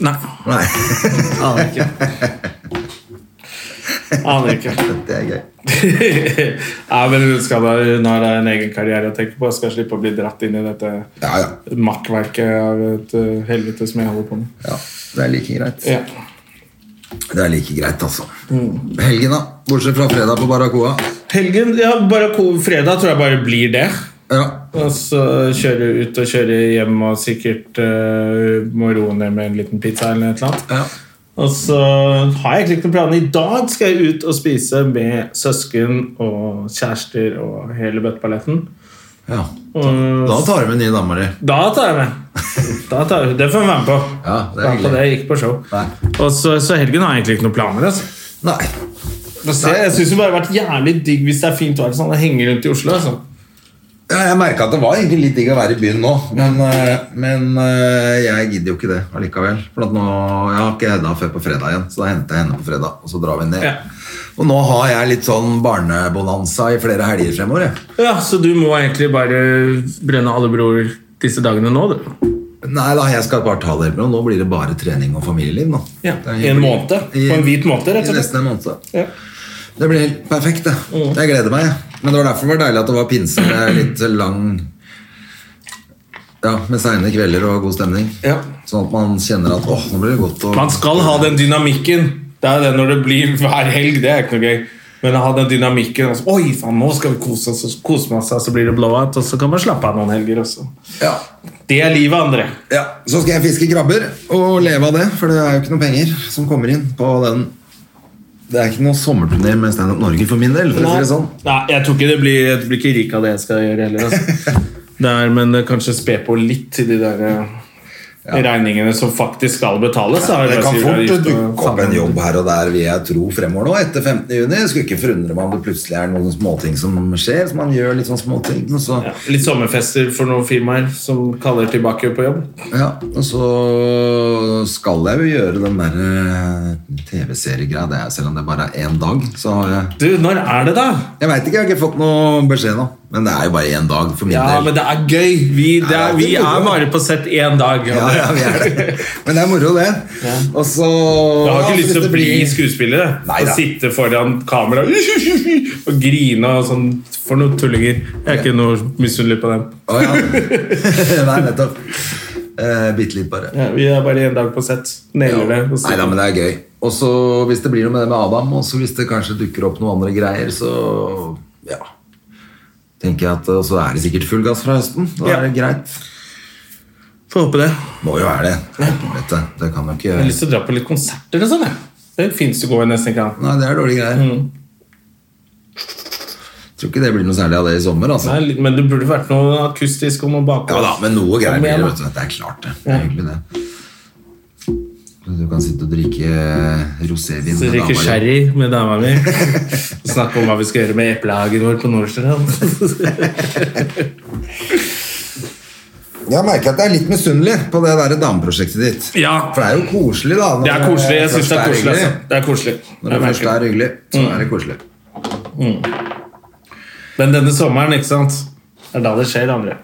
Speaker 1: Nei,
Speaker 2: Nei, (laughs)
Speaker 1: aner ikke. (laughs) Aner ikke.
Speaker 2: det er gøy.
Speaker 1: (laughs) Nei, men hun skal da, hun har da en egen karriere å tenke på. Skal slippe å bli dratt inn i dette
Speaker 2: Ja, ja.
Speaker 1: makkverket av et eh, helvete som jeg holder på med.
Speaker 2: ja. Det er like greit.
Speaker 1: Ja.
Speaker 2: Det er like greit, altså. Helgen, da. Bortsett fra fredag på Barracoa.
Speaker 1: Helgen, ja, bare ko- fredag tror jeg bare blir det.
Speaker 2: Ja.
Speaker 1: Og så kjøre ut og kjøre hjem og sikkert eh, må roe ned med en liten pizza eller et eller annet.
Speaker 2: ja.
Speaker 1: Og så har jeg egentlig ikke noen planer. I dag skal jeg ut og spise med søsken og kjærester og hele bøtteballetten.
Speaker 2: ja.
Speaker 1: Og
Speaker 2: Da tar du med nye dama di.
Speaker 1: da tar jeg med. Da tar jeg, det får hun være med på.
Speaker 2: Ja, det
Speaker 1: Være med
Speaker 2: er
Speaker 1: på
Speaker 2: hyggelig.
Speaker 1: det, ikke på show.
Speaker 2: Nei.
Speaker 1: Og så, så helgen har jeg egentlig ikke noen planer. altså.
Speaker 2: Nei.
Speaker 1: Få se, Jeg syns det bare har vært jævlig digg hvis det er fint vær sånn, å henge rundt i Oslo. altså.
Speaker 2: Ja, jeg merka at det var egentlig litt digg å være i byen nå, men, eh, men eh, jeg gidder jo ikke det allikevel. For at nå, Jeg har ikke Hedda før på fredag igjen, så da henter jeg henne på fredag. Og så drar vi ned.
Speaker 1: Ja.
Speaker 2: Og nå har jeg litt sånn barnebonanza i flere helger fremover. jeg.
Speaker 1: Ja, Så du må egentlig bare brenne alle broer disse dagene nå, du.
Speaker 2: Nei da, jeg skal bare ta det bro. Nå blir det bare trening og familieliv nå.
Speaker 1: Ja,
Speaker 2: Det
Speaker 1: I
Speaker 2: er
Speaker 1: en
Speaker 2: hyggelig.
Speaker 1: måned. På en hvit måned, rett og
Speaker 2: I
Speaker 1: slett.
Speaker 2: nesten en måned.
Speaker 1: Ja. Mm.
Speaker 2: Det blir helt perfekt, det. Jeg gleder meg. jeg. Men det var derfor det var deilig at det var pinse med litt lang Ja, med seine kvelder og god stemning.
Speaker 1: Ja.
Speaker 2: Sånn at man kjenner at åh, nå blir det godt å
Speaker 1: Man skal ha den dynamikken. Det er det når det blir hver helg. Det er ikke noe gøy. Men å ha den dynamikken altså, Oi, faen, nå skal vi kose oss, og så koser man seg, så blir det blowout, og så kan man slappe av noen helger også.
Speaker 2: ja.
Speaker 1: Det er livet, André.
Speaker 2: ja. Så skal jeg fiske krabber og leve av det, for det er jo ikke noe penger som kommer inn på den Det er ikke noe sommerturné med Stand Up Norge for min del, for å si det sånn.
Speaker 1: Nei, jeg tror ikke det blir Jeg blir ikke rik av det jeg skal gjøre heller.
Speaker 2: (laughs)
Speaker 1: Altså. Det er, men eh, kanskje spe på litt til de der eh, regningene som faktisk skal betales. da,
Speaker 2: Det kan fort
Speaker 1: arbeidsgiveravgift og
Speaker 2: dukke opp en
Speaker 1: sammen.
Speaker 2: jobb her og der, vil jeg tro, fremover nå. Etter 15. juni. Jeg Skulle ikke forundre meg om det plutselig er noen småting som skjer. Så man gjør litt sånn småting, og så
Speaker 1: Ja, litt sommerfester for noen firmaer som kaller tilbake på jobb.
Speaker 2: Ja, og så skal jeg jo gjøre den der eh, TV-seriegreia, det er- selv om det bare er én dag. Så har jeg
Speaker 1: Du, når er det, da?
Speaker 2: Jeg veit ikke, jeg har ikke fått noe beskjed nå. Men det er jo bare én dag for min
Speaker 1: Ja,
Speaker 2: del.
Speaker 1: men det er gøy. Vi, det
Speaker 2: Ja,
Speaker 1: er,
Speaker 2: det
Speaker 1: vi
Speaker 2: er
Speaker 1: er
Speaker 2: moro.
Speaker 1: bare på sett én dag.
Speaker 2: Ja,
Speaker 1: André.
Speaker 2: ja, vi er det. Men det er moro, det. Og så
Speaker 1: Jeg har
Speaker 2: Ja,
Speaker 1: ikke lyst til
Speaker 2: hvis
Speaker 1: å
Speaker 2: det
Speaker 1: bli
Speaker 2: blir-
Speaker 1: skuespillere
Speaker 2: Nei
Speaker 1: og
Speaker 2: da.
Speaker 1: sitte foran kamera og grine og sånn for noen tullinger. Jeg er ikke noe misunnelig på dem.
Speaker 2: Å ja. (laughs) Nei, nettopp. Uh, Bitte litt, bare.
Speaker 1: Ja, vi er bare én dag på sett. Nailer det. og så-
Speaker 2: Nei da, men det er gøy. Og så hvis det blir noe med det med Adam, og så hvis det kanskje dukker opp noen andre greier, så ja. Tenker jeg at Og så er det sikkert full gass fra høsten. Da
Speaker 1: Ja.
Speaker 2: er det greit.
Speaker 1: Får håpe det. Jeg
Speaker 2: Må jo være det. Vet du, det kan jo ikke
Speaker 1: har lyst til å dra på litt konserter og sånn. jeg. Det fins det gode nesten ikke an.
Speaker 2: Nei, det er dårlige greier.
Speaker 1: Mm.
Speaker 2: Tror ikke det blir noe særlig av det i sommer, altså.
Speaker 1: Nei, litt- Men det burde vært noe akustisk og noe bakgrunn.
Speaker 2: Ja da, men noe greier
Speaker 1: Kom
Speaker 2: blir
Speaker 1: igjen,
Speaker 2: det,
Speaker 1: da.
Speaker 2: vet du. Det er klart, det. Det er hyggelig, det. Du kan sitte og drikke rosévin
Speaker 1: Så
Speaker 2: med
Speaker 1: drikker
Speaker 2: dama di.
Speaker 1: sherry med dama mi og snakker om hva vi skal gjøre med eplehagen vår på
Speaker 2: (laughs)
Speaker 1: Nordstrand.
Speaker 2: Jeg merker at jeg er litt misunnelig på det der dameprosjektet ditt.
Speaker 1: Ja.
Speaker 2: For det er jo koselig, da. når
Speaker 1: Det er koselig. Jeg synes
Speaker 2: først
Speaker 1: det er koselig.
Speaker 2: hyggelig.
Speaker 1: Altså. Det er koselig.
Speaker 2: Når det
Speaker 1: Jeg
Speaker 2: først
Speaker 1: merker Mm.
Speaker 2: er hyggelig, så er det koselig.
Speaker 1: det. Men denne sommeren, ikke sant? Det er da det skjer, André.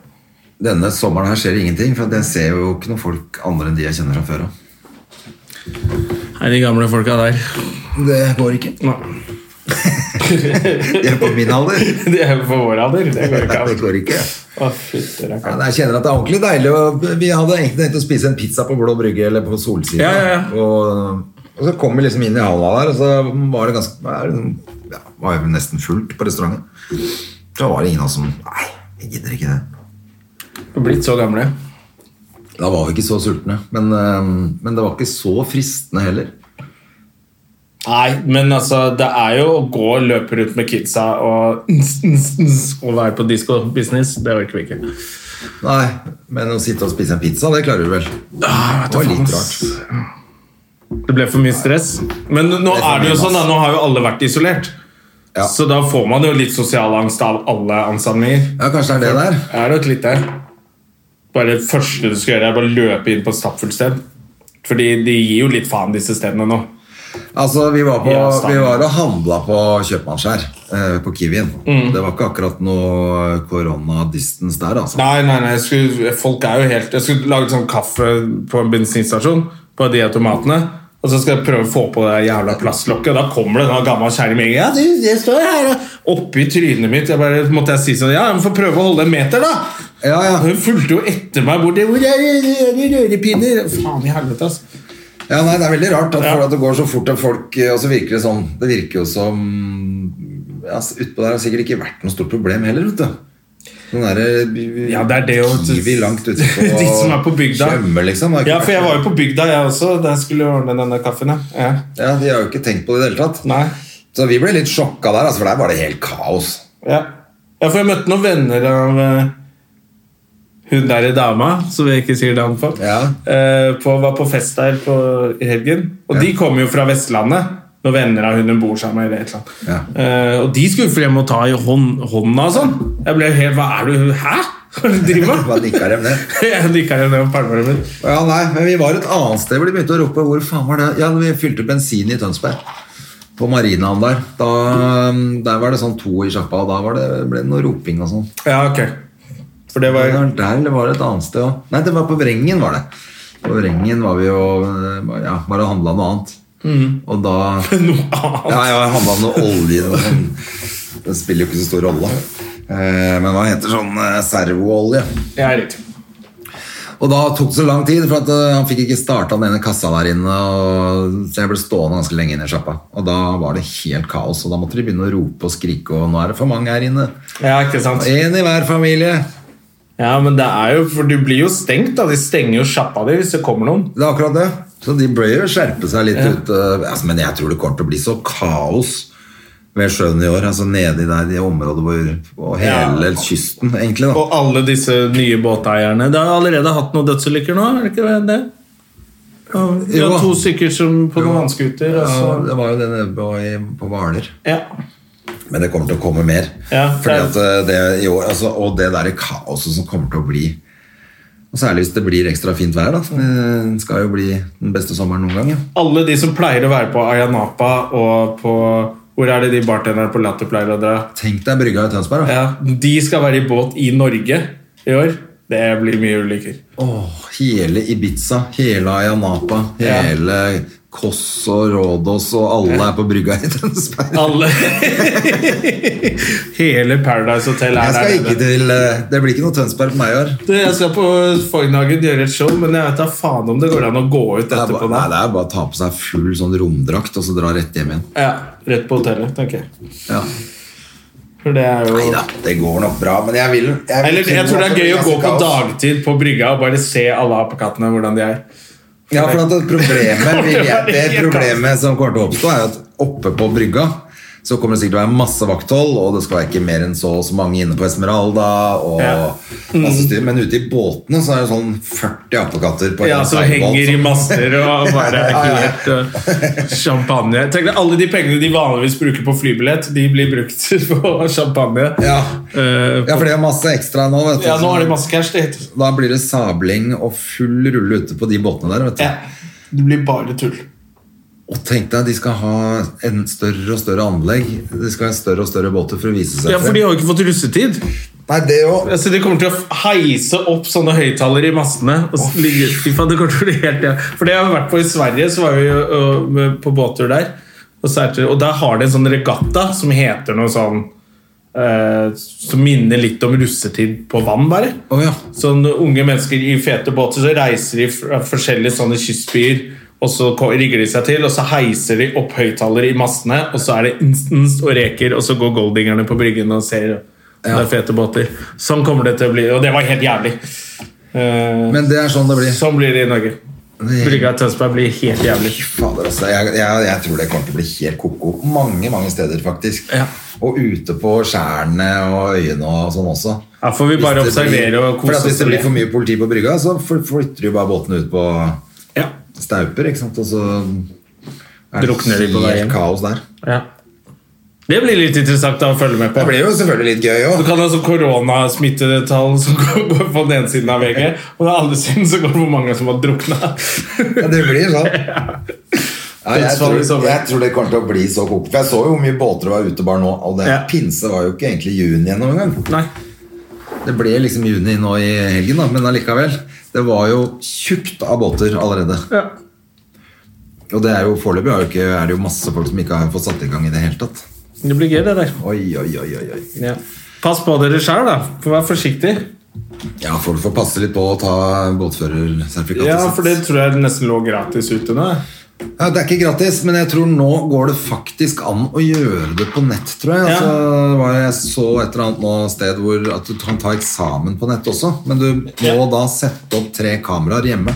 Speaker 2: Denne sommeren her skjer ingenting, for at jeg ser jo ikke noen folk andre enn de jeg kjenner fra før av.
Speaker 1: Er de gamle folka der?
Speaker 2: Det går ikke.
Speaker 1: Nei.
Speaker 2: (laughs) De er på min alder.
Speaker 1: (laughs) De er jo på vår alder. Det går ikke altså.
Speaker 2: (laughs) Det
Speaker 1: an.
Speaker 2: går ikke.
Speaker 1: Å, fytti
Speaker 2: Ja,
Speaker 1: rakkeren.
Speaker 2: men jeg kjenner at det er ordentlig deilig. Og vi hadde egentlig tenkt å spise en pizza på Blå Brygge eller på Solsiden.
Speaker 1: Ja, ja, ja.
Speaker 2: Og, og så kom vi liksom inn i halla der, og så var det ganske det er liksom- ja, Var jo nesten fullt på restauranten. Da var det ingen av oss som Nei, vi gidder ikke det.
Speaker 1: Vi er blitt så gamle.
Speaker 2: Da var vi ikke så sultne. Men, øhm, men det var ikke så fristende heller.
Speaker 1: Nei, men altså, det er jo å gå og løpe rundt med kidsa og, ns, ns, ns, og være på disko-business. Det orker vi ikke.
Speaker 2: Nei, Men å sitte og spise en pizza, det klarer du vel?
Speaker 1: Ah,
Speaker 2: Det var litt rart.
Speaker 1: Det ble for mye stress. Men nå
Speaker 2: for
Speaker 1: er det jo
Speaker 2: mye,
Speaker 1: sånn da, nå har jo alle vært isolert.
Speaker 2: Ja.
Speaker 1: Så da får man jo litt sosial angst av alle ansamlinger.
Speaker 2: Ja, kanskje det er det der.
Speaker 1: Jeg er nok litt der. Bare det første du skal gjøre, er bare løpe inn på et stappfullt sted. Fordi de gir jo litt faen, disse stedene nå.
Speaker 2: Altså, vi var, på,
Speaker 1: Ja, stemmer.
Speaker 2: vi var og handla på Kjøpmannsskjær, eh, på Kiwien.
Speaker 1: Mm.
Speaker 2: Det var ikke akkurat noe koronadistance der, altså.
Speaker 1: Nei, nei, nei, jeg skulle, folk er jo helt Jeg skulle lage sånn kaffe på en bensinstasjon, på de automatene. Og så skal jeg prøve å få på det jævla plastlokket, og da kommer det en gammel kjerring med en gang. Ja, du, det står her, da. Oppi trynet mitt. Jeg bare, måtte jeg si sånn Ja, men får prøve å holde en meter, da.
Speaker 2: Ja, ja.
Speaker 1: Hun fulgte jo etter meg borti Hvor er det- er det rørepinner? Faen i helvete, altså.
Speaker 2: ja nei, det er veldig rart at,
Speaker 1: Ja.
Speaker 2: for at det går så fort at folk eh, Og så virker det sånn. Det virker jo som ja, s- Utpå der har det sikkert ikke vært noe stort problem heller, vet du. Den derre
Speaker 1: Ja, det er det å-
Speaker 2: Kiwi langt ute på
Speaker 1: (laughs) De som er på bygda.
Speaker 2: Tjøme, liksom. Det har ikke
Speaker 1: Ja, for jeg
Speaker 2: vært-
Speaker 1: var jo på bygda, jeg også, da jeg skulle ordne denne kaffen. ja. Ja.
Speaker 2: ja, De har jo ikke tenkt på det i det hele tatt.
Speaker 1: Nei.
Speaker 2: Så vi ble litt sjokka der, altså, for der var det helt kaos.
Speaker 1: Ja. ja, for jeg møtte noen venner av eh, hun der i dama, som jeg ikke sier navn på,
Speaker 2: Ja.
Speaker 1: eh, på var på fest der på, i helgen. Og de kom jo fra Vestlandet, noen venner av hun hun bor sammen med. eller et eller annet.
Speaker 2: Ja.
Speaker 1: Eh, og de skulle frem og ta i hånd, hånda og sånn. Jeg ble helt Hva er du? Hæ? (laughs) Hva er det du driver
Speaker 2: Bare
Speaker 1: med?
Speaker 2: nikka dem
Speaker 1: (laughs)
Speaker 2: ned.
Speaker 1: Jeg nikka henne ned på palmen min.
Speaker 2: Ja, nei, men vi var et annet sted hvor de begynte å rope Hvor faen var det? Ja, vi fylte bensin i Tønsberg På marinaen der da, Der var det sånn to i sjakpa Og da var det, ble det noe roping og sånn
Speaker 1: Ja, ok. For det var
Speaker 2: Det var Der eller var det et annet sted også? Nei, det var på Vrengen var det På Vrengen var vi jo eh, Ja, bare handlet noe annet
Speaker 1: Mhm.
Speaker 2: Og da
Speaker 1: (laughs) noe annet.
Speaker 2: Ja, jeg handlet noe olje og sånn. Det spiller jo ikke så stor rolle Eh, Men hva heter sånn eh, servoolje?
Speaker 1: Ja, riktig.
Speaker 2: Og da tok det så lang tid, for at eh, han fikk ikke starta den ene kassa der inne. Og, så jeg ble stående ganske lenge inne i sjappa. Og da var det helt kaos, og da måtte de begynne å rope og skrike. Og nå er det for mange her inne.
Speaker 1: Ja, ikke sant?
Speaker 2: Én i hver familie.
Speaker 1: Ja, men det er jo, for du blir jo stengt da. De stenger jo sjappa di hvis det kommer noen.
Speaker 2: Det er akkurat det. Så de bør jo skjerpe seg litt ut. eh, Altså, men jeg tror det kommer til å bli så kaos ved sjøen i år. Altså nedi der i området hvor Og hele kysten, egentlig. da
Speaker 1: Og alle disse nye båteierne. Det har allerede hatt noen dødsulykker nå, er det ikke det? det? Ja, Vi har
Speaker 2: Jo.
Speaker 1: to stykker som på noen altså. vannskuter.
Speaker 2: ja,
Speaker 1: og så-
Speaker 2: det var jo det nede på, i- på Hvaler.
Speaker 1: Ja.
Speaker 2: Men det kommer til å komme mer.
Speaker 1: Ja,
Speaker 2: Fordi
Speaker 1: det
Speaker 2: at eh, det i år, altså, Og det derre kaoset som kommer til å bli og Særlig hvis det blir ekstra fint vær. da Det skal jo bli den beste sommeren noen gang. Ja.
Speaker 1: Alle de som pleier å være på Ayanapa og på Hvor er det de bartenderne på Latter pleier å dra?
Speaker 2: Tenk deg brygga i Tønsberg. da
Speaker 1: Ja, De skal være i båt i Norge i år. Det blir mye ulykker.
Speaker 2: Åh, hele Ibiza, hele Ayanapa,
Speaker 1: Ja.
Speaker 2: hele Koss og Rådås og alle er på brygga i Tønsberg.
Speaker 1: Alle (laughs) Hele Paradise Hotel er
Speaker 2: Jeg skal
Speaker 1: der
Speaker 2: ikke
Speaker 1: nede.
Speaker 2: til eh, Det blir ikke noe Tønsberg for meg i år.
Speaker 1: Du, Jeg skal på Foynhagen gjøre et show, men jeg vet da faen om det går an å gå ut
Speaker 2: Det er,
Speaker 1: etterpå.
Speaker 2: bare,
Speaker 1: da.
Speaker 2: nei, det er bare å ta på seg full sånn romdrakt og så dra rett hjem igjen.
Speaker 1: Ja, Rett på hotellet, tenker jeg.
Speaker 2: Ja.
Speaker 1: For det er jo
Speaker 2: Neida, det går nok bra, men jeg vil jeg vil
Speaker 1: Eller jeg
Speaker 2: tro
Speaker 1: tror det
Speaker 2: at
Speaker 1: er gøy å
Speaker 2: ganske
Speaker 1: gå på
Speaker 2: kaos.
Speaker 1: dagtid på brygga og bare se alle apekattene hvordan de er.
Speaker 2: Ja, for at det problemet,
Speaker 1: (laughs)
Speaker 2: vil jeg,
Speaker 1: Det
Speaker 2: det
Speaker 1: er helt
Speaker 2: problemet som kommer til å oppstå, er at oppe på brygga så kommer det sikkert til å være masse vakthold, og det skal være ikke mer enn så og så mange inne på Esmeralda. Og,
Speaker 1: Ja. Mm.
Speaker 2: masse styr. Men ute i båtene så er det sånn 40 apekatter på
Speaker 1: Ja,
Speaker 2: en
Speaker 1: Som
Speaker 2: seilbåt
Speaker 1: henger i
Speaker 2: som-
Speaker 1: master
Speaker 2: (laughs)
Speaker 1: og bare er
Speaker 2: Ja, ja.
Speaker 1: helt uh, champagne. Tenk deg, Alle de pengene de vanligvis bruker på flybillett, de blir brukt (laughs) på champagne.
Speaker 2: Ja.
Speaker 1: Eh,
Speaker 2: ja, for det er masse ekstra nå. Vet du.
Speaker 1: ja, nå har de masse cash. Det, heter.
Speaker 2: Da blir det sabling og full rulle ute på de båtene der. Vet du.
Speaker 1: ja. det blir bare tull.
Speaker 2: Og tenk deg, de skal ha en større og større anlegg. De skal ha større og større båter for å vise seg
Speaker 1: Ja, for de har jo ikke fått russetid.
Speaker 2: Nei, det er jo
Speaker 1: Altså, de kommer til å heise opp sånne høyttalere i mastene. Og s- ligge, Fy faen, det kommer til å bli helt ja. For det har vi vært på i Sverige, så var vi jo ø, med- på båttur der. Og, særlig, og der har de en sånn regatta som heter noe sånn eh, Som minner litt om russetid på vann, bare.
Speaker 2: Å ja.
Speaker 1: Sånn unge mennesker i fete båter Så reiser de fra forskjellige sånne kystbyer Og så ko- rigger de seg til Og så heiser de opp høytalere i massene Og så er det instance og reker Og så går goldingerne på bryggen og ser om Det er fete båter Sånn kommer det til å bli Og det var helt jævlig Eh,
Speaker 2: Men det er sånn det blir.
Speaker 1: Sånn blir det i Norge
Speaker 2: Det-
Speaker 1: Brygga i Tønsberg blir helt jævlig
Speaker 2: Fader, altså. Jeg, jeg, jeg tror det kommer til å bli helt koko mange mange steder, faktisk.
Speaker 1: Ja.
Speaker 2: Og ute på skjærene og øyene og sånn også.
Speaker 1: Ja, får vi
Speaker 2: Hvis
Speaker 1: bare
Speaker 2: det
Speaker 1: observere
Speaker 2: blir-
Speaker 1: og kose
Speaker 2: fordi at
Speaker 1: oss
Speaker 2: Hvis det
Speaker 1: med
Speaker 2: blir
Speaker 1: det.
Speaker 2: for mye politi på brygga, så fly- flytter de bare båtene ut på
Speaker 1: Ja,
Speaker 2: stauper, ikke sant. Og så er det
Speaker 1: Drukner de på
Speaker 2: helt
Speaker 1: veien.
Speaker 2: kaos der.
Speaker 1: ja Det blir litt interessant da å følge med på.
Speaker 3: Det blir jo selvfølgelig litt gøy
Speaker 1: Du
Speaker 3: òg.
Speaker 1: kan ha sånn koronasmittetall som (laughs) går går på den ene siden av VG, og den andre siden så går det hvor mange som har drukna.
Speaker 3: Det blir sånn.
Speaker 2: Ja, jeg,
Speaker 1: Dødsfall
Speaker 2: tror,
Speaker 1: i sommer.
Speaker 2: jeg tror det kommer til å bli så koko. For jeg så jo hvor mye båter det var ute bare nå, og det
Speaker 1: Ja.
Speaker 2: pinse var jo ikke egentlig juni ennå
Speaker 1: (laughs)
Speaker 2: engang.
Speaker 1: Nei.
Speaker 2: Det ble liksom juni nå i helgen, da, men allikevel. Det var jo tjukt av båter allerede.
Speaker 1: Ja.
Speaker 2: Og det er jo foreløpig er, jo ikke- er det jo masse folk som ikke har fått satt i gang i det hele tatt.
Speaker 1: Det blir gøy, det der.
Speaker 2: Oi, oi, oi, oi, oi.
Speaker 1: Ja. Pass på dere sjøl, da. For vær forsiktig.
Speaker 2: Ja, folk får passe litt på å ta båtførersertifikatet
Speaker 1: Ja,
Speaker 2: sitt.
Speaker 1: for det tror jeg nesten lå gratis ute nå.
Speaker 2: Ja, det er ikke gratis, men jeg tror nå går det faktisk an å gjøre det på nett, tror jeg.
Speaker 1: Ja.
Speaker 2: Altså, var jeg så et eller annet nå sted hvor at du kan ta eksamen på nett også, men du må da sette opp tre kameraer hjemme.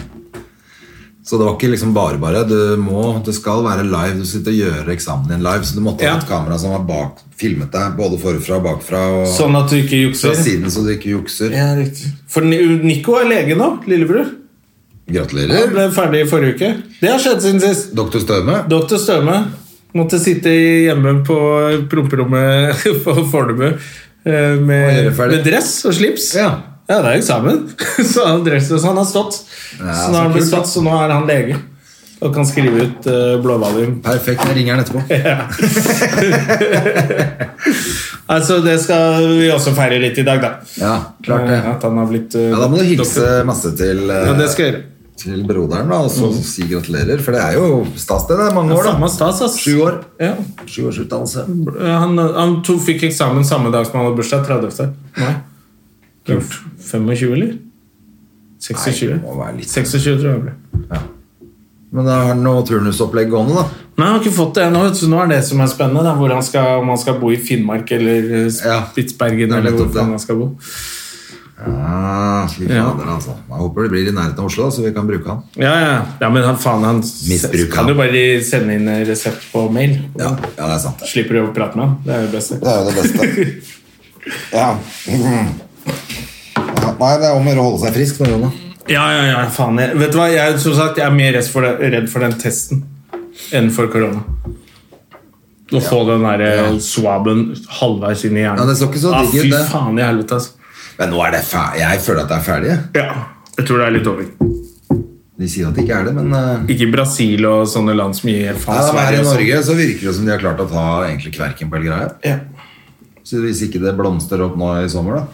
Speaker 2: Så det var ikke liksom bare bare. Du må, det skal være live. Du sitter og gjør eksamen din live, så du måtte
Speaker 1: Ja.
Speaker 2: ha et kamera som var bak, filmet deg både forfra og bakfra og
Speaker 1: Sånn at du ikke
Speaker 2: fra
Speaker 1: jukser.
Speaker 2: siden, så du ikke jukser.
Speaker 1: Ja, riktig. For Ni- Nico er lege nå, lillebror. Han
Speaker 2: Gratulerer.
Speaker 1: ble ferdig i forrige uke. Det har skjedd siden sist.
Speaker 2: Doktor Støme.
Speaker 1: Doktor Støme måtte sitte hjemme på promperommet (laughs) på Fornebu eh, med,
Speaker 2: gjøre ferdig.
Speaker 1: med dress og slips.
Speaker 2: Ja.
Speaker 1: Ja, det er eksamen. (laughs) Så han dresser, så han har stått.
Speaker 2: Ja,
Speaker 1: så,
Speaker 2: så
Speaker 1: nå har han blitt
Speaker 2: kult, da.
Speaker 1: stått, så nå er han lege og kan skrive ut uh, blåvalium.
Speaker 2: Perfekt. Jeg ringer han etterpå.
Speaker 1: Altså, det skal vi også feire litt i dag, da.
Speaker 2: Ja, klart det.
Speaker 1: At han har blitt eh,
Speaker 2: Ja, Da må du hilse
Speaker 1: doktor.
Speaker 2: masse til, eh,
Speaker 1: Ja, det skal jeg gjøre. Mm.
Speaker 2: til broderen da, og så si gratulerer. For det er jo stas, det. Det er mange år,
Speaker 1: Samme
Speaker 2: da.
Speaker 1: stas, ass.
Speaker 2: Sju år.
Speaker 1: Ja. Eh,
Speaker 2: Sju års utdannelse.
Speaker 1: Han, han to fikk eksamen samme dag som han hadde bursdag, 30. mai. Kult. 25, eller? 26.
Speaker 2: Nei, det må være litt-
Speaker 1: 26 tror jeg det ble.
Speaker 2: Men da har han noe turnusopplegg gående, da.
Speaker 1: Nei, han har ikke fått det ennå. vet du, Så nå er det som er spennende. Da, hvor han skal, om han skal bo i Finnmark eller eh,
Speaker 2: Ja, det
Speaker 1: Spitsbergen.
Speaker 2: er
Speaker 1: eller hvor
Speaker 2: nettopp det.
Speaker 1: faen han skal bo.
Speaker 2: Ja, fy
Speaker 1: Ja.
Speaker 2: fader, altså. Jeg håper det blir i nærheten av Oslo, så vi kan bruke han.
Speaker 1: Ja, ja. ja men han, faen, han
Speaker 2: Misbruk,
Speaker 1: kan
Speaker 2: han.
Speaker 1: jo bare sende inn eh, resept på mail.
Speaker 2: Ja, ja det er sant.
Speaker 1: Slipper du å prate med han. Det er jo det beste.
Speaker 2: Det er jo det beste. Ja. Ja, Nei, det er om å gjøre å holde seg frisk nå, Jonna.
Speaker 1: Ja, ja, ja, faen jeg. Vet du hva, jeg, som sagt, jeg er mer redd for, det, redd for den testen enn for korona. Å få den der eh, swaben halvveis inn i hjernen.
Speaker 2: Ja, det så ikke så
Speaker 1: Ah,
Speaker 2: digg ut, det.
Speaker 1: Fy faen i helvete, altså.
Speaker 2: Men nå er det ferdig. Jeg føler at det er ferdig. jeg.
Speaker 1: Ja, jeg tror det er litt over.
Speaker 2: De sier at det ikke er det, men eh,
Speaker 1: Ikke Brasil og sånne land som gir faen.
Speaker 2: ja,
Speaker 1: Sverige
Speaker 2: her i
Speaker 1: og sånn.
Speaker 2: Norge så virker det som de har klart å ta egentlig kverken på hele greia.
Speaker 1: Ja.
Speaker 2: Så hvis ikke det blomster opp nå i sommer, da.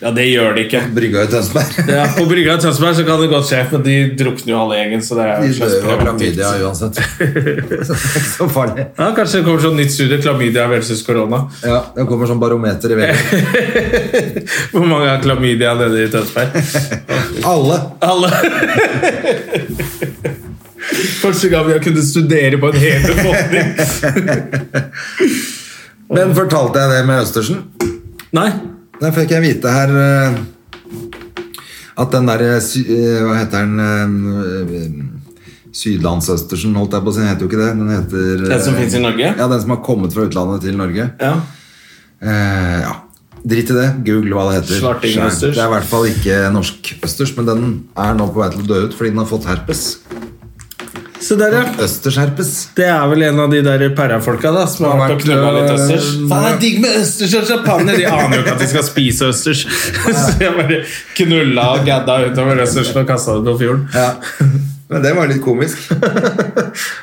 Speaker 1: ja, det gjør det ikke.
Speaker 2: Brygga i Tønsberg.
Speaker 1: Ja, på brygga i Tønsberg så kan det godt skje, men de drukner jo alle gjengen. Så det er
Speaker 2: (laughs) De
Speaker 1: jo en
Speaker 2: dør
Speaker 1: slags
Speaker 2: jo av
Speaker 1: preventivt.
Speaker 2: klamydia uansett. Så det er
Speaker 1: (laughs)
Speaker 2: ikke (laughs) så farlig.
Speaker 1: Ja, Kanskje det kommer sånn nytt studie, klamydia versus korona.
Speaker 2: Ja, Det kommer sånn barometer i veggen.
Speaker 1: Hvor mange har klamydia nede i Tønsberg?
Speaker 2: Alle!
Speaker 1: Alle. Første gang jeg kunne studere på en hel befolkning.
Speaker 2: Men fortalte jeg det med Østersen?
Speaker 1: Nei.
Speaker 2: Der fikk jeg vite her eh, at den der eh, sy- eh, Hva heter den eh, Sydlandsøstersen, holdt jeg på å si. Den heter jo ikke det. Den heter eh,
Speaker 1: Den som finnes i Norge?
Speaker 2: Ja, den som har kommet fra utlandet til Norge.
Speaker 1: Ja.
Speaker 2: Eh, ja. Drit i det. Google hva det heter.
Speaker 1: Svartingøsters.
Speaker 2: Det er i hvert fall ikke norsk østers, men den er nå på vei til å dø ut fordi den har fått herpes.
Speaker 1: Se der, ja.
Speaker 2: Østersherpes.
Speaker 1: Det er vel en av de der pærafolka da, som har
Speaker 2: Har
Speaker 1: vært og
Speaker 2: vært,
Speaker 1: knulla litt
Speaker 2: øh,
Speaker 1: østers. Faen, det er digg med østers og champagne! De aner jo ikke at de skal spise østers. (laughs) Så jeg bare knulla og gadda utover østersen og kasta det på fjorden.
Speaker 2: Ja. Men det var litt komisk.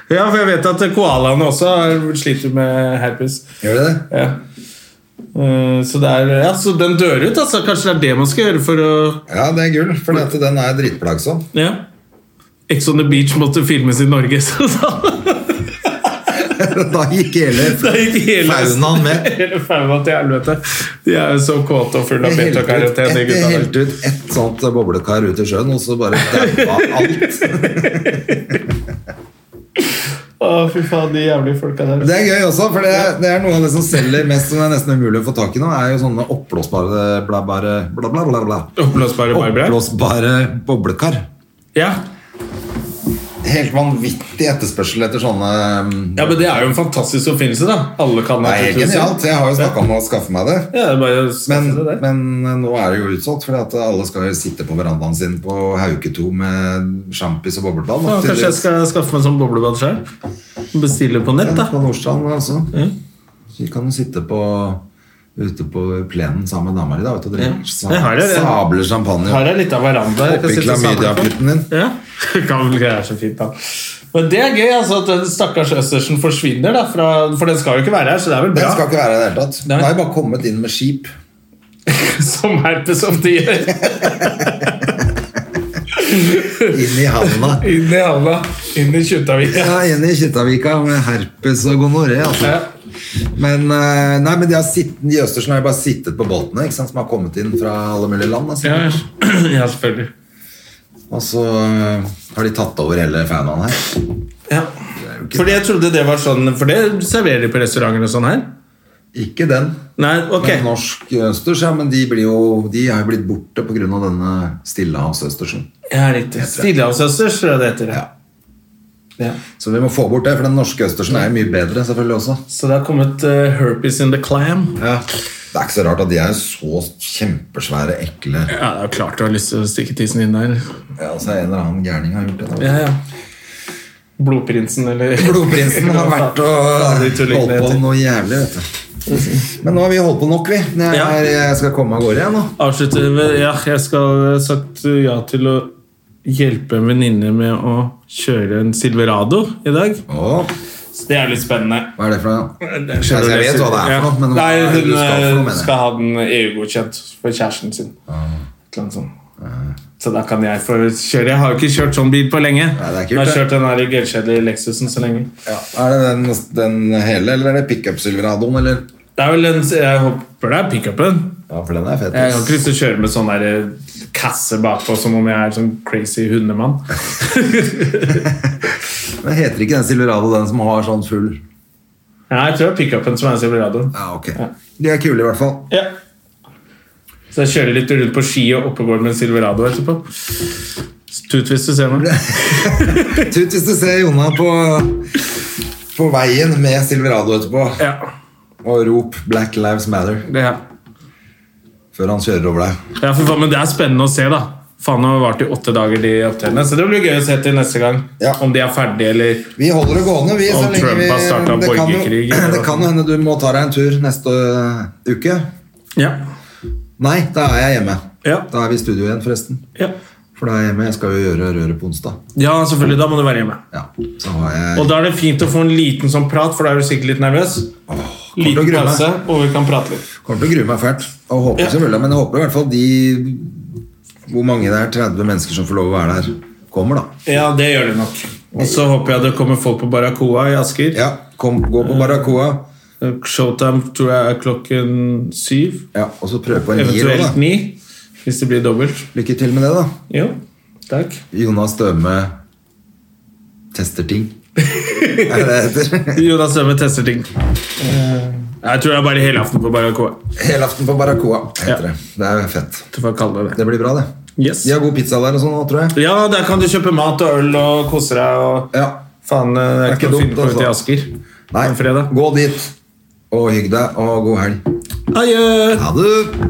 Speaker 1: Ja, for jeg vet at koalaene også har- sliter med herpes.
Speaker 2: Gjør det det?
Speaker 1: Ja. Eh, Så, det er, ja, så den dør ut, altså. Kanskje det er det man skal gjøre for å
Speaker 2: Ja, det er gull, for dette, den er dritplagsom.
Speaker 1: Ja. Ex on the beach måtte filmes i Norge, (laughs) så da,
Speaker 2: (laughs) da gikk hele
Speaker 1: (laughs) da gikk hele
Speaker 2: faunaen med.
Speaker 1: Hele faunaen til helvete. De er jo så kåte og fulle av
Speaker 2: Det helte ut
Speaker 1: betakaroten, de
Speaker 2: et- det
Speaker 1: gutta der.
Speaker 2: helte ut ett sånt boblekar ut i sjøen, og så bare daua alt.
Speaker 1: Å, fy faen, de jævlige folka der. altså.
Speaker 2: Det er gøy også, for det, det er noe av det som selger mest, som det er nesten umulig å få tak i nå, er jo sånne oppblåsbare bla, bare, bla, bla, bla, bla.
Speaker 1: Oppblåsbare barbrau?
Speaker 2: Oppblåsbare boblekar.
Speaker 1: Ja.
Speaker 2: Helt vanvittig etterspørsel etter sånne um,
Speaker 1: ja, men det er jo en fantastisk oppfinnelse, da. Alle kan
Speaker 2: Det
Speaker 1: ha
Speaker 2: er helt genialt. Jeg har jo snakka om å skaffe meg det.
Speaker 1: Ja, det er bare å
Speaker 2: Men,
Speaker 1: skaffe det der.
Speaker 2: men eh, nå er det jo utsolgt, for alle skal jo sitte på verandaen sin på Hauketo med sjampis og
Speaker 1: Ja,
Speaker 2: boblebad. da,
Speaker 1: kanskje jeg
Speaker 2: tydeligvis.
Speaker 1: skal skaffe meg en sånn boblebad sjøl? Bestille på nett, da.
Speaker 2: På Nordstrand, altså. Vi kan jo sitte på ute på plenen sammen med dama di da, vet du, og drikke
Speaker 1: Ja.
Speaker 2: sa-
Speaker 1: Jeg har det, det.
Speaker 2: sabler champagne
Speaker 1: Her er litt av veranda. jeg kan
Speaker 2: oppi
Speaker 1: sitte og samle på.
Speaker 2: klamydiaputten din.
Speaker 1: Ja, (laughs) det kan vel ikke være så fint da Men det er gøy altså at den stakkars Østersen forsvinner da fra, For den skal jo ikke være her, så det er vel
Speaker 2: Den skal
Speaker 1: bra
Speaker 2: ikke være her i det hele tatt.
Speaker 1: Nei.
Speaker 2: Den har jo bare kommet inn med skip.
Speaker 1: (laughs) Som herpes som de gjør
Speaker 2: Inn
Speaker 1: (laughs)
Speaker 2: i havna.
Speaker 1: Inn i handa, inn i Kjuttaviga
Speaker 2: Ja, inn i Kittavika med herpes og gonoré. Altså.
Speaker 1: ja.
Speaker 2: Men, eh, nei, men de, har sitt- de Østersen har jo bare sittet på båtene ikke sant, som har kommet inn fra alle mulige land. Altså.
Speaker 1: Ja, (clears throat) ja. ja, selvfølgelig
Speaker 2: Og så eh, har de tatt over hele faunaen her.
Speaker 1: ja. Fordi jeg trodde det var sånn For det serverer de på restauranter og sånn her
Speaker 2: Ikke den,
Speaker 1: Nei, ok
Speaker 2: men norsk eh, østers. Ja, men de, blir jo, de er jo blitt borte pga. denne stillehavsøstersen.
Speaker 1: Ja, riktig Stillehavsøsters, tror jeg det heter det
Speaker 2: Ja. Så vi må få bort det, for den norske østersen er jo mye bedre selvfølgelig også.
Speaker 1: Så det har kommet eh, herpes in the clam
Speaker 2: Ja. Det er ikke så rart at de er så kjempesvære, ekle
Speaker 1: Ja, det er jo klart du har lyst til å stikke tissen inn der
Speaker 2: ja, altså En eller annen gærning har gjort det. da.
Speaker 1: Ja, ja. Blodprinsen, eller
Speaker 2: Blodprinsen har vært og
Speaker 1: Stadig tulling,
Speaker 2: holdt
Speaker 1: det
Speaker 2: på
Speaker 1: heter.
Speaker 2: noe jævlig, vet du. Men nå har vi holdt på nok, vi. Jeg,
Speaker 1: Ja.
Speaker 2: er, jeg skal komme av gårde, jeg nå.
Speaker 1: Avslutte med Ja, jeg skal jeg har sagt eh, ja til å hjelpe en venninne med å kjøre en Silverado i dag.
Speaker 2: Åh,
Speaker 1: Så det er litt spennende.
Speaker 2: hva er det for noe?
Speaker 1: Altså,
Speaker 2: jeg vet hva det er for noe, men
Speaker 1: Nei,
Speaker 2: hva er det
Speaker 1: hun
Speaker 2: du skal for noe,
Speaker 1: eh,
Speaker 2: mener jeg? Ah.
Speaker 1: skal ha den EU-godkjent for kjæresten sin. Et eller annet sånt. Så da kan jeg få kjøre. Jeg har jo ikke kjørt sånn bil på lenge.
Speaker 2: Nei, det er
Speaker 1: jeg
Speaker 2: kult,
Speaker 1: har
Speaker 2: det.
Speaker 1: kjørt den her gørrkjedelige Lexusen så lenge.
Speaker 2: Ja. Er det den, den hele, eller er det pickup Silveradoen, eller?
Speaker 1: Det er vel en, jeg håper det er pickupen.
Speaker 2: Ja, for den er fet.
Speaker 1: Jeg har
Speaker 2: ass.
Speaker 1: ikke lyst til å kjøre med sånn der eh, kasse bakpå som om jeg er sånn crazy hundemann. (laughs)
Speaker 2: Men heter ikke den Silverado den som har sånn full
Speaker 1: Nei, jeg tror det er pickupen som er Silveradoen.
Speaker 2: Ja, ok. De er kule, i hvert fall.
Speaker 1: Ja. Så jeg kjører litt rundt på ski og oppegår med en Silverado etterpå. Tut hvis du ser meg.
Speaker 2: Tut hvis du ser Jonna på, på veien med Silverado etterpå,
Speaker 1: Ja,
Speaker 2: og rop 'Black Lives Matter'
Speaker 1: det er.
Speaker 2: før han kjører over deg.
Speaker 1: Ja, for faen, men det er spennende å se, da. Faen, nå har det vart i åtte dager, de opptredene. Så det blir gøy å se til neste gang.
Speaker 2: Ja.
Speaker 1: Om de er ferdige, eller
Speaker 2: Vi holder det gående, vi.
Speaker 1: Om
Speaker 2: Så lenge
Speaker 1: Trump
Speaker 2: vi
Speaker 1: har startet
Speaker 2: det kan jo- (clears throat)
Speaker 1: borgerkrig, eller
Speaker 2: Det
Speaker 1: hva
Speaker 2: kan jo hende du må ta deg en tur neste øh, uke.
Speaker 1: Ja.
Speaker 2: Nei, da er jeg hjemme.
Speaker 1: Ja.
Speaker 2: Da er vi i studio igjen, forresten.
Speaker 1: Ja,
Speaker 2: For da er jeg hjemme. Jeg skal jo gjøre røret på onsdag.
Speaker 1: ja selvfølgelig. Da må du være hjemme.
Speaker 2: Ja, så har jeg
Speaker 1: Og da er det fint å få en liten sånn prat, for da er du sikkert litt nervøs.
Speaker 2: til å
Speaker 1: Liten
Speaker 2: grue meg.
Speaker 1: pause, og vi kan prate litt.
Speaker 2: Kommer til å grue meg fælt. Og håper
Speaker 1: Ja.
Speaker 2: selvfølgelig, men jeg håper i hvert fall de Hvor mange det er, 30 mennesker som får lov å være der, kommer, da.
Speaker 1: Ja, det gjør det nok. Og så håper jeg det kommer folk på Barracoa i Asker.
Speaker 2: Ja, kom, gå på Barracoa.
Speaker 1: Showtime tror jeg er klokken syv.
Speaker 2: Ja, og så prøv på en nier òg,
Speaker 1: Eventuelt
Speaker 2: da.
Speaker 1: ni, hvis det blir dobbelt.
Speaker 2: Lykke til med det, da.
Speaker 1: Jo, takk.
Speaker 2: Jonas Døme tester
Speaker 1: (laughs)
Speaker 2: ting. Er det det heter?
Speaker 1: Jonas Dømme tester ting. Eh. Jeg tror det er bare helaften på Barracoa.
Speaker 2: Helaften på Barracoa heter
Speaker 1: Ja.
Speaker 2: det. Det er fett.
Speaker 1: Det får jeg kalle det det.
Speaker 2: Det blir bra, det.
Speaker 1: Yes.
Speaker 2: De har god pizza der og sånn nå, tror jeg.
Speaker 1: Ja, der kan du kjøpe mat og øl og kose deg og
Speaker 2: Ja.
Speaker 1: Faen, det er ikke noe å
Speaker 2: dumt,
Speaker 1: finne på ute i
Speaker 2: altså.
Speaker 1: Asker.
Speaker 2: Nei,
Speaker 1: En fredag.
Speaker 2: gå dit og hygg deg, og god helg.
Speaker 1: Adjø!
Speaker 2: Ha det!